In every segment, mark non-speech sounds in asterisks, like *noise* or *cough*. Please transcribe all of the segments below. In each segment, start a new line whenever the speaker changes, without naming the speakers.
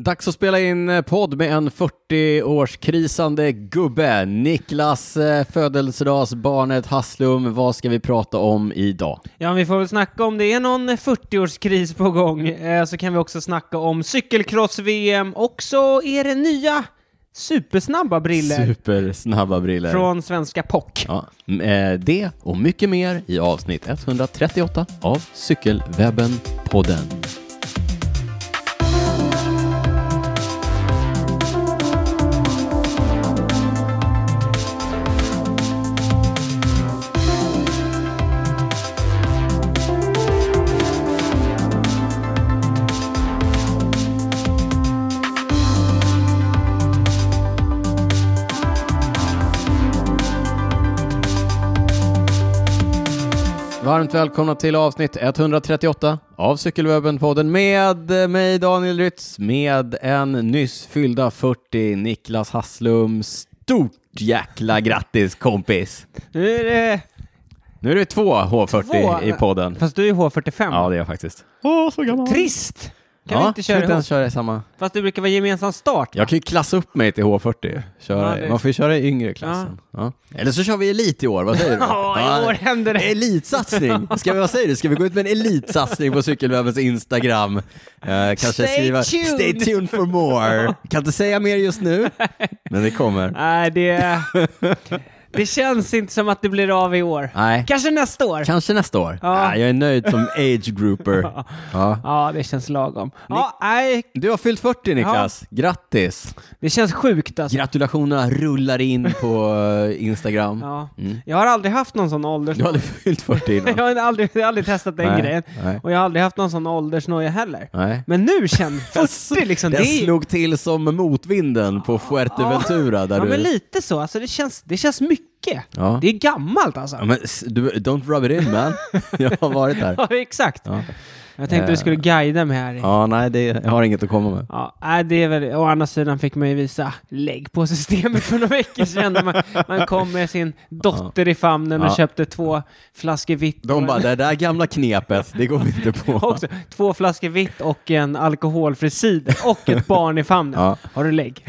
Dags att spela in eh, podd med en 40-årskrisande gubbe. Niklas eh, födelsedagsbarnet Hasslum, vad ska vi prata om idag?
Ja, men vi får väl snacka om det är någon 40-årskris på gång, eh, så kan vi också snacka om cykelcross-VM och så är det nya supersnabba briller
Supersnabba briller.
från svenska POC.
Ja, m- eh, det och mycket mer i avsnitt 138 av Cykelwebben-podden. Varmt välkomna till avsnitt 138 av Cykelwebben-podden med eh, mig Daniel Rytz, med en nyss fyllda 40 Niklas Hasslum. Stort jäkla grattis kompis!
Nu är det...
Nu är det två H40
Två?
i podden.
Fast du är H45.
Ja, det är jag faktiskt. Åh, så gammal.
Trist! Kan
ja,
vi inte köra
inte
ihop?
ens köra i samma.
Fast det brukar vara gemensam start.
Jag kan ju klassa upp mig till H40. Köra,
Ja, det-
Man får ju köra i yngre klassen. Ja. Eller så kör vi elit i år, vad säger du?
*laughs* Ja, i år händer det.
Elitsatsning! Ska vi, vad säger du? Ska vi gå ut med en elitsatsning på Cykelwebbens Instagram? Eh, kanske
Stay
skriva
tuned.
“Stay tuned for more”. Kan inte säga mer just nu, men det kommer. *laughs*
Nej, det... Det känns inte som att det blir av i år.
Nej,
Kanske nästa år.
kanske nästa år.
Ja.
Nej, jag är nöjd som age grouper. Ja.
*laughs* Ja, det känns lagom. Ja, nej,
Du har fyllt 40 Niklas, grattis!
det känns sjukt alltså.
Gratulationerna rullar in på eh, Instagram.
Ja.
Mm.
Jag har aldrig haft någon sån
Du har
åldersnoja.
aldrig fyllt 40
Jag *laughs*
innan.
har aldrig, jag har aldrig testat den
Nej,
grejen.
nej.
Och jag har aldrig haft någon sån åldersnoja heller.
Nej.
Men
*laughs*
nu känner 40 liksom, det
Den
är
slog till som motvinden på Fuerteventura där
Ja
du...
men lite så, alltså det känns, det känns mycket.
Ja.
Det är gammalt alltså.
Ja, men s- du, don't rub it in man. *laughs* Jag har varit där.
Ja, exakt.
Ja. Eh,
Jag tänkte du skulle guida mig här. Ja.
Ja, nej, det, jag har inget att komma med.
nej, det är väl, å andra sidan fick man ju visa lägg på systemet för några veckor
*laughs*
sedan. när Man, man kom med sin dotter i famnen och
Ja.
köpte två flaskor vitt.
De
*laughs*
bara, det där gamla knepet, det går vi inte på.
Också, två flaskor vitt och en alkoholfri cider och ett barn i famnen.
Ja.
Har
*laughs*
du lägg?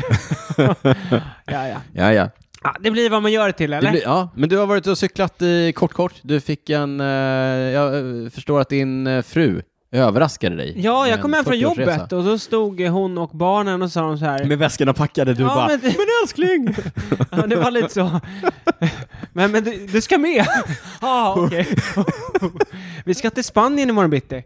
ja, ja.
Ja, ja.
ja, det blir vad man gör det till,
Det
eller?
blir, ja, men du har varit och cyklat i kort kort. Du fick en, eh, jag eh, förstår att din eh, fru överraskade dig.
Ja,
med
jag
en
kom hem från
40-årsresa.
jobbet och då stod hon och barnen och sa de så här.
Med väskorna packade, du
ja,
bara
men, men älskling! *laughs* ja, det var lite så. *laughs* Men, men du, du ska med? *laughs* Ja, okej. *laughs* Vi ska till Spanien imorgon bitti.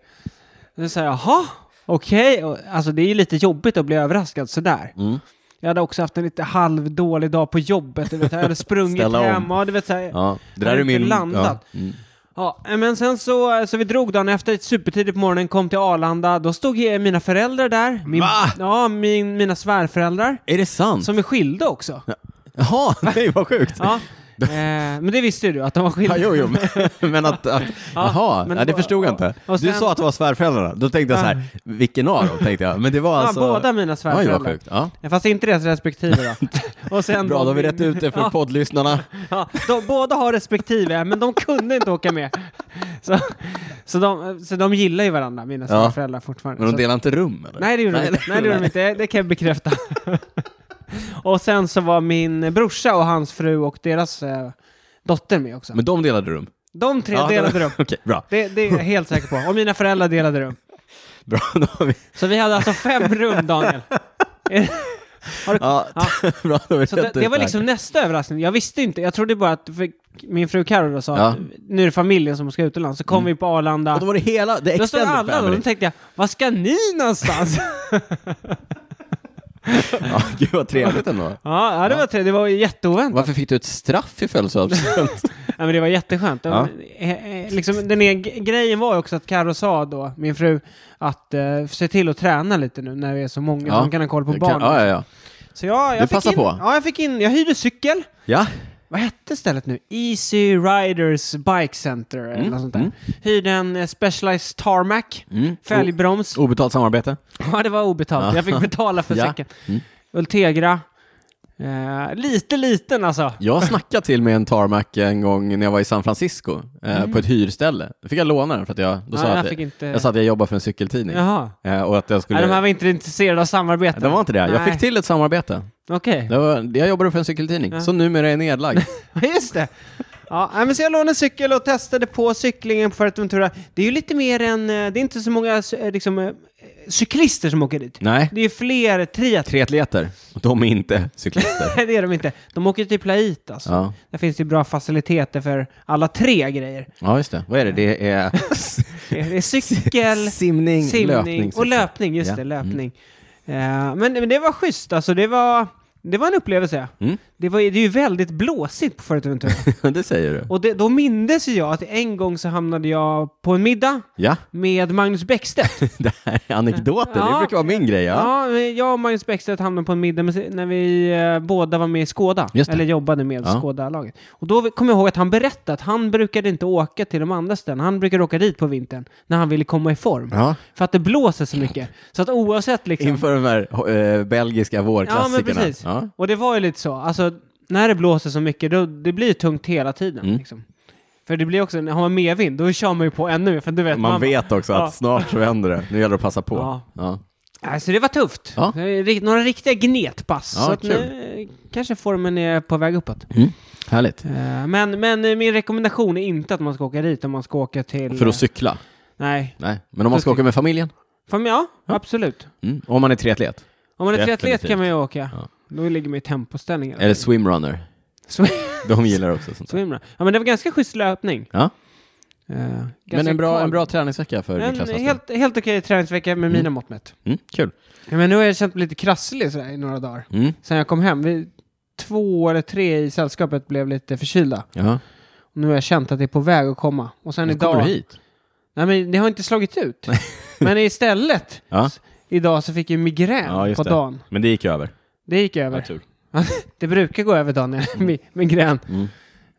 Då sa jag, jaha, okej. Och, Alltså det är ju lite jobbigt att bli överraskad sådär.
Mm.
Jag hade också haft en lite halvdålig dag på jobbet. Du vet, jag hade sprungit
Ställa om.
hem. Ja, du vet, så här,
Ja, det där
Har
är
inte
min...
landat.
Ja. Mm.
Ja, eh, men sen så, så vi drog dagen efter, supertidigt på morgonen, kom till Arlanda. Då stod eh, mina föräldrar där. Min,
Va?
Ja, min, mina svärföräldrar.
Är det sant?
Som är skilda också.
Jaha, *laughs* nej vad sjukt. *laughs*
Ja. eh, men det visste ju du, att de var
Ja,
skilda.
jo, jo, men, *laughs* men att... att jaha,
men
ja, det
då-
förstod jag inte.
och
du
sen-
sa att det var svärföräldrarna, då tänkte jag så här, vilken av dem? Tänkte jag. Men det var
*laughs* Ja,
alltså...
båda mina
Oj, vad
svärföräldrar.
sjukt. Ja.
Fast inte deras respektive
*laughs*
då. Och sen
Bra, då har vi rätt ut det för
*laughs* Ja,
poddlyssnarna.
Ja, de, båda har respektive, men de kunde inte åka med. *laughs* Så, så, de, så de gillar ju varandra, mina svärföräldrar fortfarande.
Men
Så-
de delar inte rum eller?
Nej, det gjorde de inte. Nej, det, gjorde de inte. det kan
*laughs*
jag bekräfta. och sen så var min brorsa och hans fru och deras eh, dotter med också.
Men de delade rum? *laughs*
De tre
Ja,
delade rum.
Okej, bra.
Det, det är jag helt säker på. Och mina föräldrar delade rum.
bra. Då har
*laughs*
vi,
Så vi hade alltså fem rum, Daniel. Har du,
ja, *laughs* bra, då har vi
Så det,
rätt
det
ut
var
här.
liksom nästa överraskning. Jag visste inte. Jag trodde bara att för min fru Carro då sa
Ja. Mm.
att nu är det familjen som ska utomlands. Så kom vi på Arlanda.
Och då var det hela, det
Då stod
extended
alla där och
family.
då tänkte jag, vad ska ni någonstans?
*laughs* Ja, gud vad trevligt ändå.
ja, ja, det var trevligt. Det var jätteoväntat.
Varför fick du ett straff i
*laughs*
födelsedagspresent?
Ja, men det var jätteskönt.
Ja.
Eh, eh, Liksom, den här g- grejen var ju också att Karo sa då, min fru, att eh, se till att träna lite nu när vi är så många
Ja.
som kan ha koll på
Det kan-
barnen.
Ja, ja, ja.
Så jag, jag
Du
fick
passar
in,
på.
Ja, jag fick in, jag hyrde cykel.
Ja,
Vad hette stället nu? Easy Riders Bike Center eller något sånt där. Hyrde en eh, Specialized Tarmac,
Mm.
*laughs* fälgbroms.
obetalt samarbete.
Ja, det var
*laughs*
obetalt.
Ja. Mm.
Jag fick betala för
Ja.
cykeln. Ultegra. Eh, lite liten alltså.
Jag snackade till med en tarmac en gång när jag var i San Francisco eh, på ett hyrställe. Då fick jag låna den för att jag, då sa
Mm. Ja,
jag,
jag
att
fick inte-
jag sa att jag jobbar för en cykeltidning.
Jaha.
Eh, och att jag skulle...
Nej, de här var inte intresserade av samarbete.
Det var inte det. Jag
Nej.
fick till ett samarbete. *laughs*
Okej,
Det var, jag jobbade för en cykeltidning,
Ja.
som numera är
*laughs*
nedlagd.
just det. Ja, nej, men så jag lånade en cykel och testade på cyklingen på Fuerteventura. Det är ju lite mer än, eh, det är inte så många eh, liksom, eh, cyklister som åker dit.
Nej,
Det är fler triatleter.
triatleter. De är inte cyklister.
*laughs* Nej, det är de inte. De åker till Plait alltså.
ja.
Där finns det ju bra faciliteter för alla tre grejer.
ja, just det. Vad är det? Det är
Det är
*laughs*
cykel,
simning,
simning
löpning.
och
cykel.
löpning. Just
Ja. Mm.
det, löpning. Eh, men, men det var schysst alltså. Det var, det var en upplevelse.
Mm.
Det, var, det är ju väldigt blåsigt på Fuerteventura.
*laughs* det säger du.
Och det, då mindes ju jag att en gång så hamnade jag på en middag
Ja, *laughs*
med Magnus Bäckstedt.
det här är anekdoter. Det
Ja.
brukar vara min grej. *laughs* Ja.
Ja. men jag och Magnus Bäckstedt hamnade på en middag med, när vi eh, båda var med i Skåda.
Just det.
Eller jobbade med
Ja.
Skåda-laget. Och då kommer jag ihåg att han berättade att han brukade inte åka till de andra ställena. Han brukade åka dit på vintern när han ville komma i form.
Ja.
För att det blåser så mycket. Så att oavsett liksom...
Inför de här eh, belgiska
ja, men
vårklassikerna.
precis.
Ja.
Och det var ju lite så. Alltså, när det blåser så mycket, då, det blir ju tungt hela tiden.
Mm.
Liksom. För det blir också, har man medvind, då kör man ju på ännu mer. För du vet,
Man vet också att
Ja.
snart så vänder det. Nu gäller det att passa på.
Ja.
Ja.
Alltså det var tufft.
Ja.
Det är rikt- Några riktiga gnetpass.
Ja,
så att
kul.
nu eh, kanske formen är på väg uppåt.
Mm. Härligt.
Eh, Men, men eh, min rekommendation är inte att man ska åka dit om man ska åka till... eh,
För att cykla?
Nej.
Nej. Men om man ska åka med familjen?
Fan, ja, absolut.
Mm. Om man är triatlet?
Om man är
Definitivt.
triatlet kan man ju åka.
Ja.
Då ligger man i tempoställningar.
Eller swimrunner?
*laughs* Swim-
De gillar också sånt. där.
Swimrun. Ja, men det var ganska schysst löpning.
Ja.
Eh, ganska
Men en bra,
kal.
en bra träningsvecka för
En
Niklas Hasslum.
helt, helt okej träningsvecka med mina mått mätt.
Mm, kul.
Ja, men nu har jag känt mig lite krasslig sådär i några dagar.
Mm.
Sen jag kom hem. Vi, två eller tre i sällskapet blev lite förkylda.
Ja.
Och nu har jag känt att det är på väg att komma. Och sen
Nu
idag...
kommer du hit.
Nej, men det har inte slagit ut. *laughs* men istället,
Ja.
s- idag så fick jag migrän
Ja, just
på
det.
dagen.
Men det gick över.
Det gick över. det brukar gå över dagen, mi- migrän.
Mm.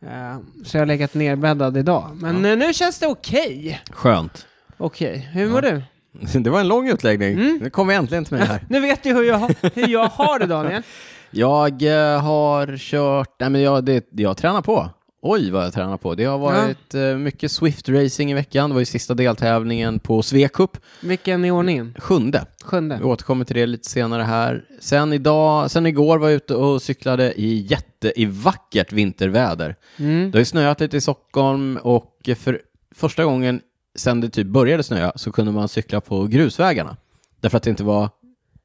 Eh, så jag har legat nerbäddad idag. Men eh, nu känns det okej.
Skönt.
Okej, hur mår du?
*laughs* Det var en lång utläggning.
Mm.
Nu kommer vi äntligen till mig här.
Nu vet du hur jag, hur jag har det Daniel.
*laughs* Jag eh, har kört, nej men jag, det, jag tränar på. Oj vad jag tränar på. Det har varit eh, mycket Swift Racing i veckan. Det var ju sista deltävlingen på Svea Cup,
Vilken i ordningen?
sjunde.
Sjunde?
Vi återkommer till det lite senare här. Sen, idag, sen igår var jag ute och cyklade i jätte, i vackert vinterväder.
Mm.
Det har ju snöat lite i Stockholm och för första gången sen det typ började snöa så kunde man cykla på grusvägarna. Därför att det inte var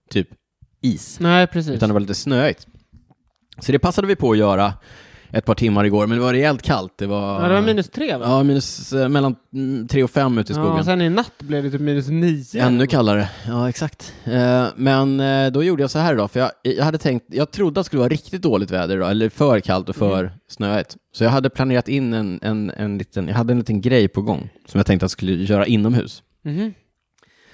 typ is.
Nej, precis.
Utan det var lite snöigt. Så det passade vi på att göra ett par timmar igår, men det var rejält kallt. Det var,
Ja, det var minus tre va?
ja, minus, eh, mellan mm, tre och fem ute i skogen.
Ja, och sen i natt blev det typ minus nio.
Ännu kallare. Ja, exakt. Eh, men eh, då gjorde jag så här idag, för jag, jag hade tänkt, jag trodde att det skulle vara riktigt dåligt väder idag, eller för kallt och för
Mm.
snöigt. Så jag hade planerat in en, en, en liten, jag hade en liten grej på gång som jag tänkte att jag skulle göra inomhus.
Mhm.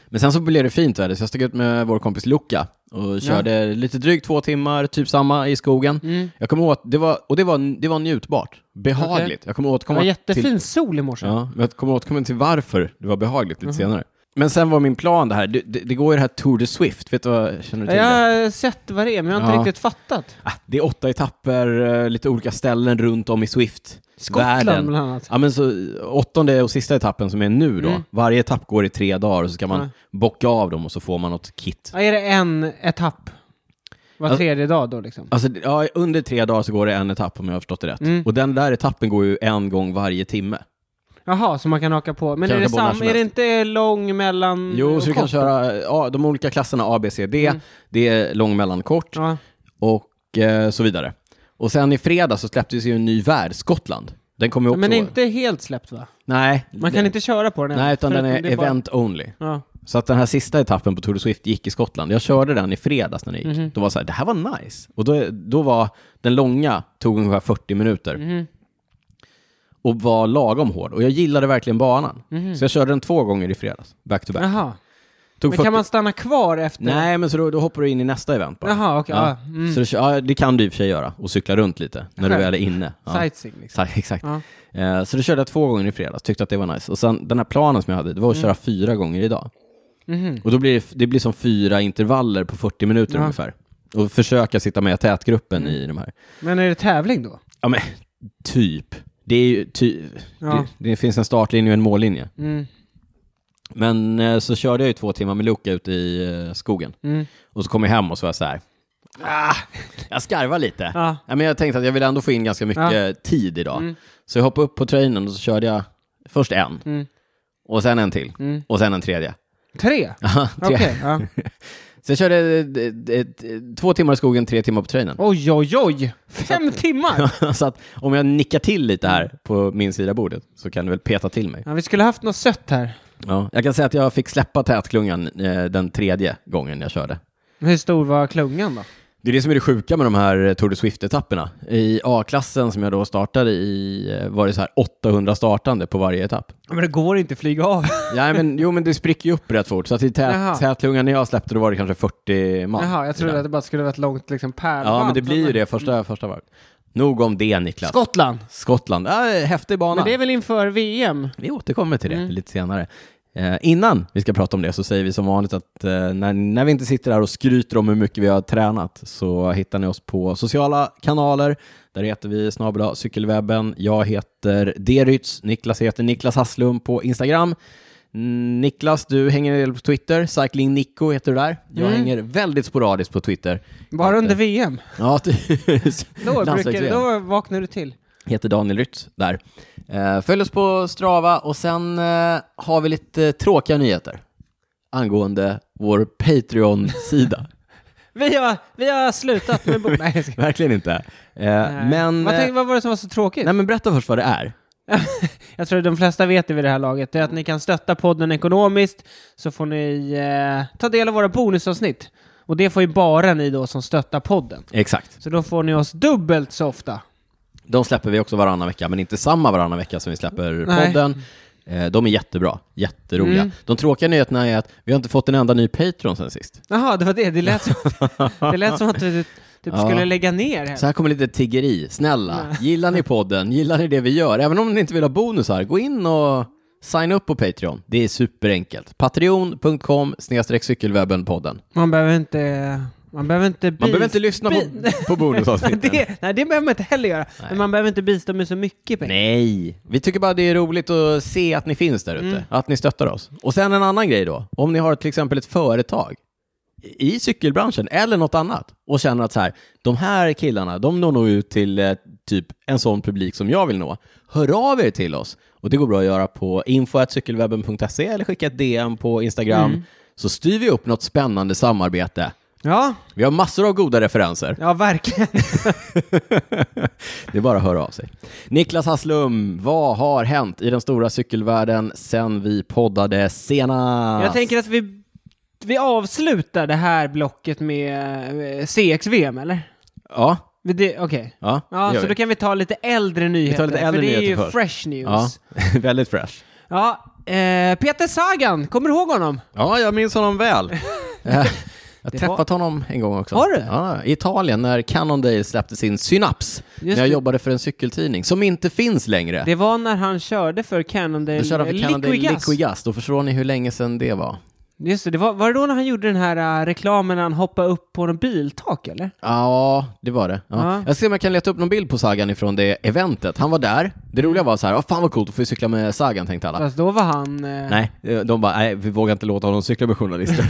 Men sen så blev det fint väder, så jag steg ut med vår kompis Luca och körde lite drygt två timmar, typ samma, i skogen.
Mm.
Jag kommer åt, det var, och det var, det var njutbart, behagligt. Jag kommer
Det
återkomma
var jättefin
till,
sol i morse.
ja, men jag kommer återkomma till varför det var behagligt
Mhm.
lite senare. Men sen var min plan det här, det, det, det går ju det här Tour de Swift, vet du vad, känner du till
jag
det?
har sett vad det är, men jag har inte
Ja.
riktigt fattat.
Ah, Det är åtta etapper, eh, lite olika ställen runt om i Swift.
Skottland
världen.
bland annat.
Ja, men så, åttonde och sista etappen som är nu då,
Mm.
varje etapp går i tre dagar och så ska man
Ja.
bocka av dem och så får man något kit.
Ja, är det en etapp var
Alltså-
tredje dag då liksom?
Alltså, det- ja, under tre dagar så går det en etapp om jag har förstått det rätt.
Mm.
Och den där etappen går ju en gång varje timme.
Jaha, så man kan haka på. Men
Kan
är det,
haka på när
sam-
som
är det
helst.
inte lång mellan
Jo,
Mm, och
så du kan
kort?
köra ja, de olika klasserna A, B, C, D.
Mm.
Det är lång, mellan, kort
Ja.
och eh, så vidare. Och sen i fredag så släpptes ju en ny värld, Skottland. Den kommer ju också...
Men inte helt släppt va?
Nej.
Man kan inte köra på den än,
Nej, utan den
förutom
är
det bara-
event only.
Ja.
Så att den här sista etappen på Tour de Swift gick i Skottland. Jag körde den i fredags när den gick.
Mhm.
Då var det så här, det här var nice. Och då, då var den långa, tog ungefär 40 minuter.
Mhm.
och var lagom hård. Och jag gillade verkligen banan.
Mhm.
Så jag körde den två gånger i fredags, back to back.
Jaha.
Tog
Men
40
kan man stanna kvar efter?
Nej, men så då, då hoppar du in i nästa event bara.
Jaha, okej.
Ja.
Ja. Mm.
Så du, kör- ja, det kan du i och för sig göra, och cykla runt lite när du
Själv.
väl är inne. Ja.
Sightseeing liksom.
Så- *laughs* Exakt.
Ja.
Eh, Så du körde jag två gånger i fredags, tyckte att det var nice. Och sen den här planen som jag hade, det
Mm.
var att köra fyra gånger idag.
Mhm.
Och då blir det, det blir som fyra intervaller på 40 minuter
Ja. Mm.
ungefär. Och försöka sitta med i tätgruppen i de här.
Men är det tävling då?
Ja, men typ. Det, är ju ty
Ja.
det, det finns en startlinje och en mållinje.
Mm.
Men eh, så körde jag ju två timmar med Luca ute i eh, skogen.
Mm.
Och så kom jag hem och så var jag så här. Ah, jag skarvar lite.
Ja.
Ja, men jag tänkte att jag ville ändå få in ganska mycket tid idag.
Mm.
Så jag hoppade upp på trainen och så körde jag först en.
Mm.
Och sen en till.
Mm.
Och sen en tredje.
Tre?
Ja, tre.
Okej. Ja.
Så jag körde eh, eh, två timmar i skogen, tre timmar på trainen.
Oj, oj, oj! Fem
*laughs*
timmar!
så att om jag nickar till lite
Mm.
här på min sida av bordet så kan du väl peta till mig.
Ja, vi skulle haft något sött här.
Ja, jag kan säga att jag fick släppa tätklungan eh, den tredje gången jag körde.
Hur stor var klungan då?
Det är det som är det sjuka med de här eh, Tour de Swift-etapperna. I A-klassen som jag då startade i eh, var det så här 800 startande på varje etapp.
Men det går inte att flyga av.
Ja, men, jo, men det spricker ju upp rätt fort. Så att i
Jaha.
tät, tätlungan när jag släppte då var det kanske 40 man.
*laughs* Jaha, jag trodde att det bara skulle vara ett långt liksom pärlband.
Ja, men det blir ju det första, första varvet. Nog om det, Niklas.
Skottland!
Skottland. Ja, häftig bana.
Men det är väl inför VM?
Vi återkommer till det lite senare. Eh, innan vi ska prata om det så säger vi som vanligt att eh, när, när vi inte sitter här och skryter om hur mycket vi har tränat så hittar ni oss på sociala kanaler. Där heter vi snabel-a cykelwebben. Jag heter Derytz. Niklas heter Niklas Hasslum på Instagram. Mm, Niklas, du hänger en del på Twitter. Cycling Nico heter du där. Jag
Mm.
hänger väldigt sporadiskt på Twitter.
Bara under VM?
Ja, *laughs* ty-
Då, brukar,
Landsvägs-VM.
då vaknar du till.
heter Daniel Rytz där. Eh, följ oss på Strava och sen eh, har vi lite tråkiga nyheter angående vår
*laughs*
Patreon-sida. *laughs*
Vi har, vi har slutat med... bo- *laughs* Nej, jag ska-
Verkligen inte. Eh,
Nej.
men,
vad,
eh,
tänkte, vad var det som var så tråkigt?
nej, men berätta först vad det är.
Jag tror de flesta vet det vid det här laget. Det är att ni kan stötta podden ekonomiskt så får ni eh, ta del av våra bonusavsnitt. Och det får ju bara ni då som stöttar podden.
Exakt.
Så då får ni oss dubbelt så ofta.
De släpper vi också varannan vecka, men inte samma varannan vecka som vi släpper
Nej.
podden. Eh, de är jättebra, jätteroliga.
Mm.
De tråkiga nyheterna är att vi har inte fått en enda ny Patreon sen sist.
Jaha, det var det. Det lät som,
*laughs*
det lät som att du typ
Ja.
skulle lägga ner
Så
här.
här kommer lite tiggeri. Snälla, gillar ni podden? Gillar ni det vi gör? Även om ni inte vill ha bonusar, gå in och signa upp på Patreon. Det är superenkelt. Patreon.com cykelwebbenpodden.
Man behöver inte... Man behöver inte...
Man behöver inte lyssna på, på bonusavsnitten.
*laughs* det, nej, det behöver man inte heller göra. Men man behöver inte bistå med så mycket pengar.
Nej, vi tycker bara det är roligt att se att ni finns där ute, att ni stöttar oss. Och sen en annan grej då, om ni har till exempel ett företag i cykelbranschen eller något annat och känner att så här, de här killarna, de når nog ut till eh, typ en sån publik som jag vill nå. Hör av er till oss och det går bra att göra på info.cykelwebben.se eller skicka ett DM på Instagram så styr vi upp något spännande samarbete.
Ja,
Vi har massor av goda referenser.
ja verkligen.
Det är bara att höra av sig. Niklas Hasslum, vad har hänt i den stora cykelvärlden sen vi poddade senast?
Jag tänker att vi, vi avslutar det här blocket med eh, CX-VM, eller?
Ja,
Det- det- Okej.
ja, det
Ja,
gör
så
vi.
då kan vi ta lite äldre nyheter.
tar lite äldre
för det är ju
nyheter först.
fresh
ja, *laughs*
news.
Väldigt fresh.
Ja. eh, Peter Sagan, kommer du ihåg honom?
Ja, jag minns honom väl.
*laughs*
Eh, jag har
Det
träffat honom en gång också.
Har du?
Ja, I Italien när Cannondale släppte sin Synaps. när jag
det.
jobbade för en cykeltidning som inte finns längre.
Det var när han körde för
Då körde
Cannondale
han för Cannondale
Liquigas.
Liquigas. Då förstår ni hur länge sedan det var.
Just det, det var, var det då när han gjorde den här eh, reklamen när han hoppade upp på en biltak, eller?
Ja, det var det. Ja.
Ja.
Jag ser om jag kan leta upp någon bild på Sagan ifrån det eventet. Han var där. Det roliga var så här, oh, fan vad coolt att få cykla med Sagan, tänkte alla.
Fast då var han... eh,
Nej, de bara, nej, vi vågar inte låta honom cykla med *laughs* journalister.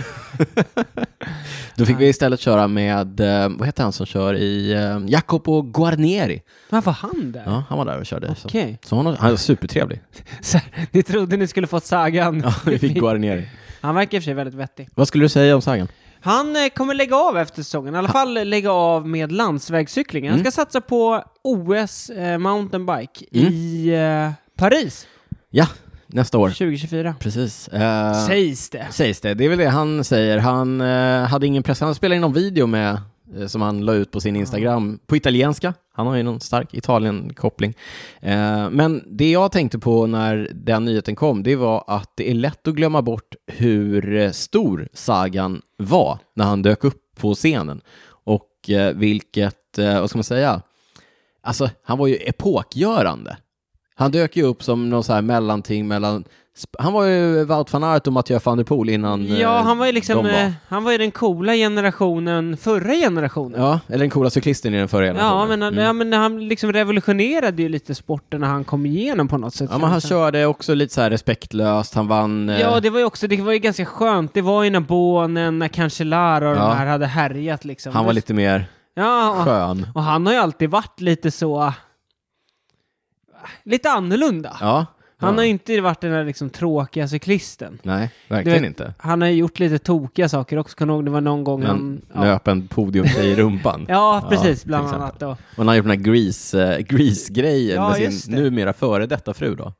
Då fick vi istället köra med, eh, vad heter han som kör i, eh, Jacopo Guarnieri.
Vad var han där?
Ja, han var där och körde. Så.
Okej.
Så han, han var supertrevlig.
Så här, Ni trodde ni skulle få Sagan.
Ja, *laughs*
*laughs*
vi fick Guarnieri.
Han verkar i och för sig väldigt vettig.
Vad skulle du säga om Sagan?
Han eh, kommer lägga av efter säsongen, i alla fall lägga av med landsvägscyklingen.
Mm.
Han ska satsa på OS eh, mountainbike i eh, Paris
Ja, nästa Mm. år.
2024.
Precis. Eh,
Sägs det.
Sägs det. Det är väl det han säger. Han eh, hade ingen press. Han spelade in någon video med, eh, som han la ut på sin Instagram på italienska. Han har ju någon stark Italien-koppling. Eh, men det jag tänkte på när den nyheten kom, det var att det är lätt att glömma bort hur eh, stor Sagan var när han dök upp på scenen. Och eh, vilket, eh, vad ska man säga, alltså han var ju epokgörande. Han dök ju upp som någon så här mellanting mellan Sp- Han var ju Wout van Aert och Mathieu van der Poel innan eh,
Ja, han var ju liksom,
de var.
eh, han var ju den coola generationen, förra generationen.
Ja, eller den coola cyklisten i den Mm. förra
Ja,
generationen.
men, han- ja, men han liksom revolutionerade ju lite sporten när han kom igenom på något sätt.
Ja, men han körde också lite så här respektlöst, han vann... eh,
Ja, det var ju också, det var ju ganska skönt. Det var ju när Bonen, när Cancellara och
Ja.
de här hade härjat liksom.
han var
Det-
lite mer
ja, och,
skön.
och han har ju alltid varit lite så... Lite annorlunda.
Ja,
Han
ja.
har ju inte varit den där liksom tråkiga cyklisten.
Nej, verkligen
Du vet,
inte.
Han har ju gjort lite tokiga saker också. Kommer du ihåg, det var någon gång
Men
han... Ja,
löp en podiumtjej
*laughs*
i rumpan.
ja precis.
till
bland
exempel.
annat då.
Och han har gjort den här grease, eh, grease-grejen
Ja,
med
just
sin
det.
numera före detta fru då.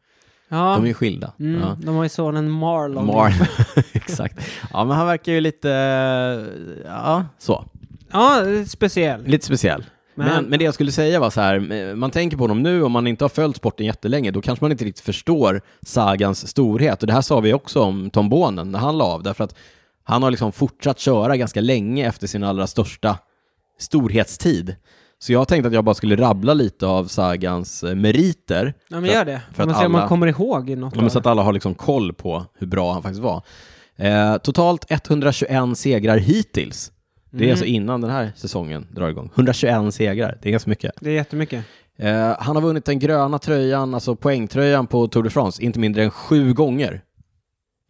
Ja,
De är ju skilda.
mm,
Ja.
de har ju sonen Marlon.
Mar *laughs* Exakt. Ja, men han verkar ju lite, eh, ja, så.
ja, det är speciell.
Lite speciell. Men,
Men-
men, det jag skulle säga var så här, eh, man tänker på honom nu om man inte har följt sporten jättelänge, då kanske man inte riktigt förstår sagans storhet. Och det här sa vi också om Tom Bonen när han la av, därför att han har liksom fortsatt köra ganska länge efter sin allra största storhetstid. Så jag tänkte att jag bara skulle rabbla lite av sagans eh, meriter,
Ja, men gör det.
för att
man ser om
alla-
man kommer ihåg i något
Ja, men
av
så
det.
att alla har liksom koll på hur bra han faktiskt var. Eh, totalt 121 segrar hittills. Det är
Mhm.
alltså innan den här säsongen drar igång. 121 segrar, det är ganska mycket.
Det är jättemycket.
Eh, han har vunnit den gröna tröjan, alltså poängtröjan på Tour de France, inte mindre än sju gånger.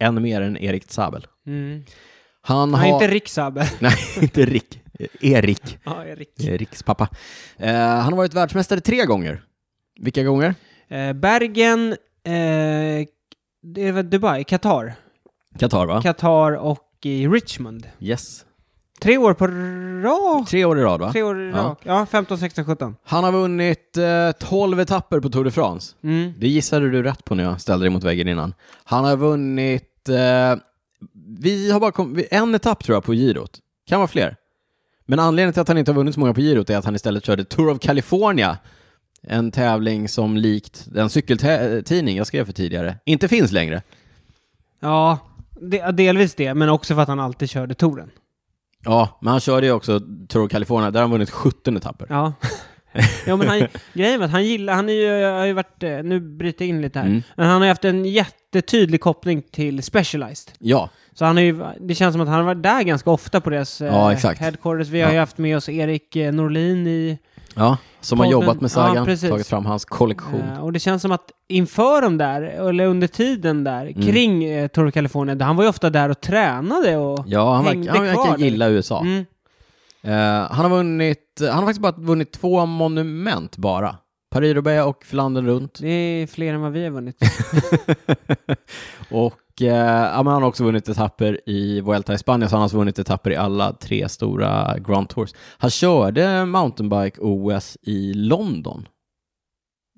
Än mer än Erik Zabel.
Mm.
Han
Han
har...
är inte Rick Saber.
*laughs* Nej, inte Rick. Erik.
ja, Rick.
Eh, Ricks pappa. Eh, han har varit världsmästare tre gånger. Vilka gånger?
Eh, Bergen, eh, det var Dubai, Qatar.
Qatar, va?
Qatar och i Richmond.
yes.
Tre år på rad.
Tre år i rad, va?
Tre år i
Ja.
rad. Ja, 15, 16, 17.
Han har vunnit eh, 12 etapper på Tour de France.
Mm.
Det gissade du rätt på när jag ställde dig mot väggen innan. Han har vunnit... Eh, vi har bara kom, en etapp tror jag på girot. Kan vara fler. Men anledningen till att han inte har vunnit så många på girot är att han istället körde Tour of California. En tävling som likt den cykeltidning jag skrev för tidigare inte finns längre.
Ja, de, ja, delvis det, men också för att han alltid körde touren.
Ja, men han körde ju också Tour of California. Där har han vunnit 17 etapper.
Ja. *laughs* ja, men han, grejen är att han gillar, han är ju, har ju varit, eh, nu bryter jag in lite här,
Mm.
men han har ju haft en jättetydlig koppling till Specialized.
Ja,
Så han har ju, det känns som att han har varit där ganska ofta på deras eh,
Ja, exakt.
headquarters. Vi har ju
Ja.
haft med oss Erik eh, Norlin i,
ja som har
Podden-
jobbat med
Ja,
Sagan,
precis.
tagit fram hans kollektion.
eh, och det känns som att inför de där, eller under tiden där,
Mm.
kring eh, Tour of California, där han var ju ofta där och tränade och
Ja, han
hängde
verkar, han verkar
kvar där.
gilla USA.
Mm.
Eh, han, har vunnit, eh, han har faktiskt bara vunnit två monument bara. Paris-Roubaix och Flandern runt.
Det är fler än vad vi
*laughs*
har vunnit.
Och eh, ja, men han har också vunnit etapper i Vuelta i Spanien, så han har alltså vunnit etapper i alla tre stora Grand Tours. Han körde mountainbike-OS i London,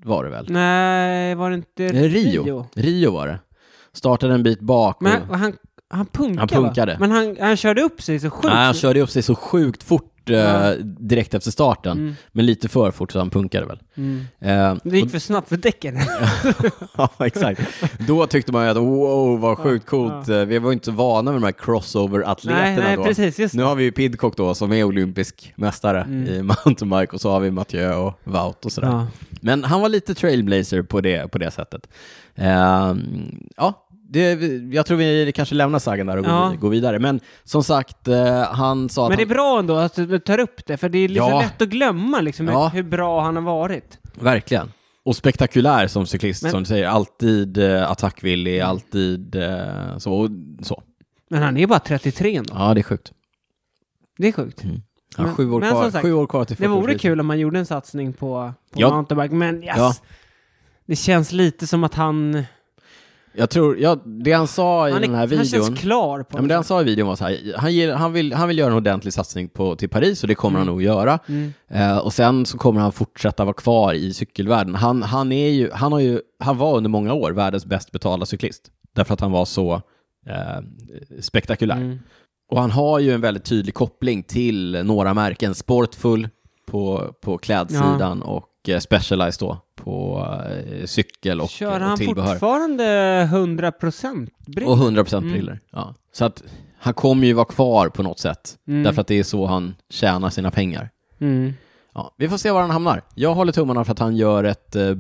var det väl?
Nej, var det inte
Eh, Rio. Rio. var det. Startade en bit bak.
Men
och,
han, han, han punkade,
Han punkade.
Va? Men han, han körde upp sig så sjukt.
nej, han körde upp sig så sjukt fort eh,
Ja.
direkt efter starten,
Mm.
men lite för fort så han punkade väl.
Mm.
Eh,
Det gick för snabbt
*laughs*
för däcken.
Ja, exakt. Då tyckte man ju att wow, vad sjukt coolt. Eh, Vi var ju inte vana med de här
nej,
crossover-atleterna
nej,
då.
precis. Just
Nu har vi ju Pidcock då som är olympisk mästare i *laughs* mountainbike och så har vi Mathieu och Wout och sådär.
Mm. Ja.
Men han var lite trailblazer på det, på det sättet. Ehm, ja, det, jag tror vi kanske lämnar Sagan där och går,
Ja.
går vidare. Men som sagt, eh, han sa att
Men det är
han,
bra ändå att du tar upp det, för det är liksom
Ja.
lätt att glömma liksom, hur-
Ja.
hur bra han har varit.
Verkligen. Och spektakulär som cyklist,
Men-
som du säger. Alltid eh, attackvillig, alltid eh, så, och så.
Men han är ju bara 33 ändå.
Ja, det är sjukt.
Det är sjukt.
Mm. Ja,
Men-
sju, år
men
kvar,
som sagt,
sju år kvar till
Det vore
40-årskrisen.
kul om man gjorde en satsning på, på
Ja.
mountainbike, men yes.
Ja.
Det känns lite som att han...
Jag tror, ja, det han sa i
Han,
den här
är, han
videon,
känns klar på liksom.
ja, men det han sa i videon var så här, han, ger, han, vill, han vill göra en ordentlig satsning på, till Paris och det kommer
Mm.
han nog göra. Eh, och sen så kommer han fortsätta vara kvar i cykelvärlden. Han, han, är ju, han, har ju, han var under många år världens bäst betalda cyklist, därför att han var så eh, spektakulär.
Mm.
Och han har ju en väldigt tydlig koppling till några märken, Sportful på, på klädsidan och eh, Specialized då på eh, cykel och,
Kör
och
han
tillbehör.
fortfarande 100% bredd?
Och 100%
Mm.
briller. Ja. Så att han kommer ju vara kvar på något sätt,
Mm.
därför att det är så han tjänar sina pengar.
Mm.
Ja, vi får se var han hamnar. Jag håller tummarna för att han gör, ett, eh,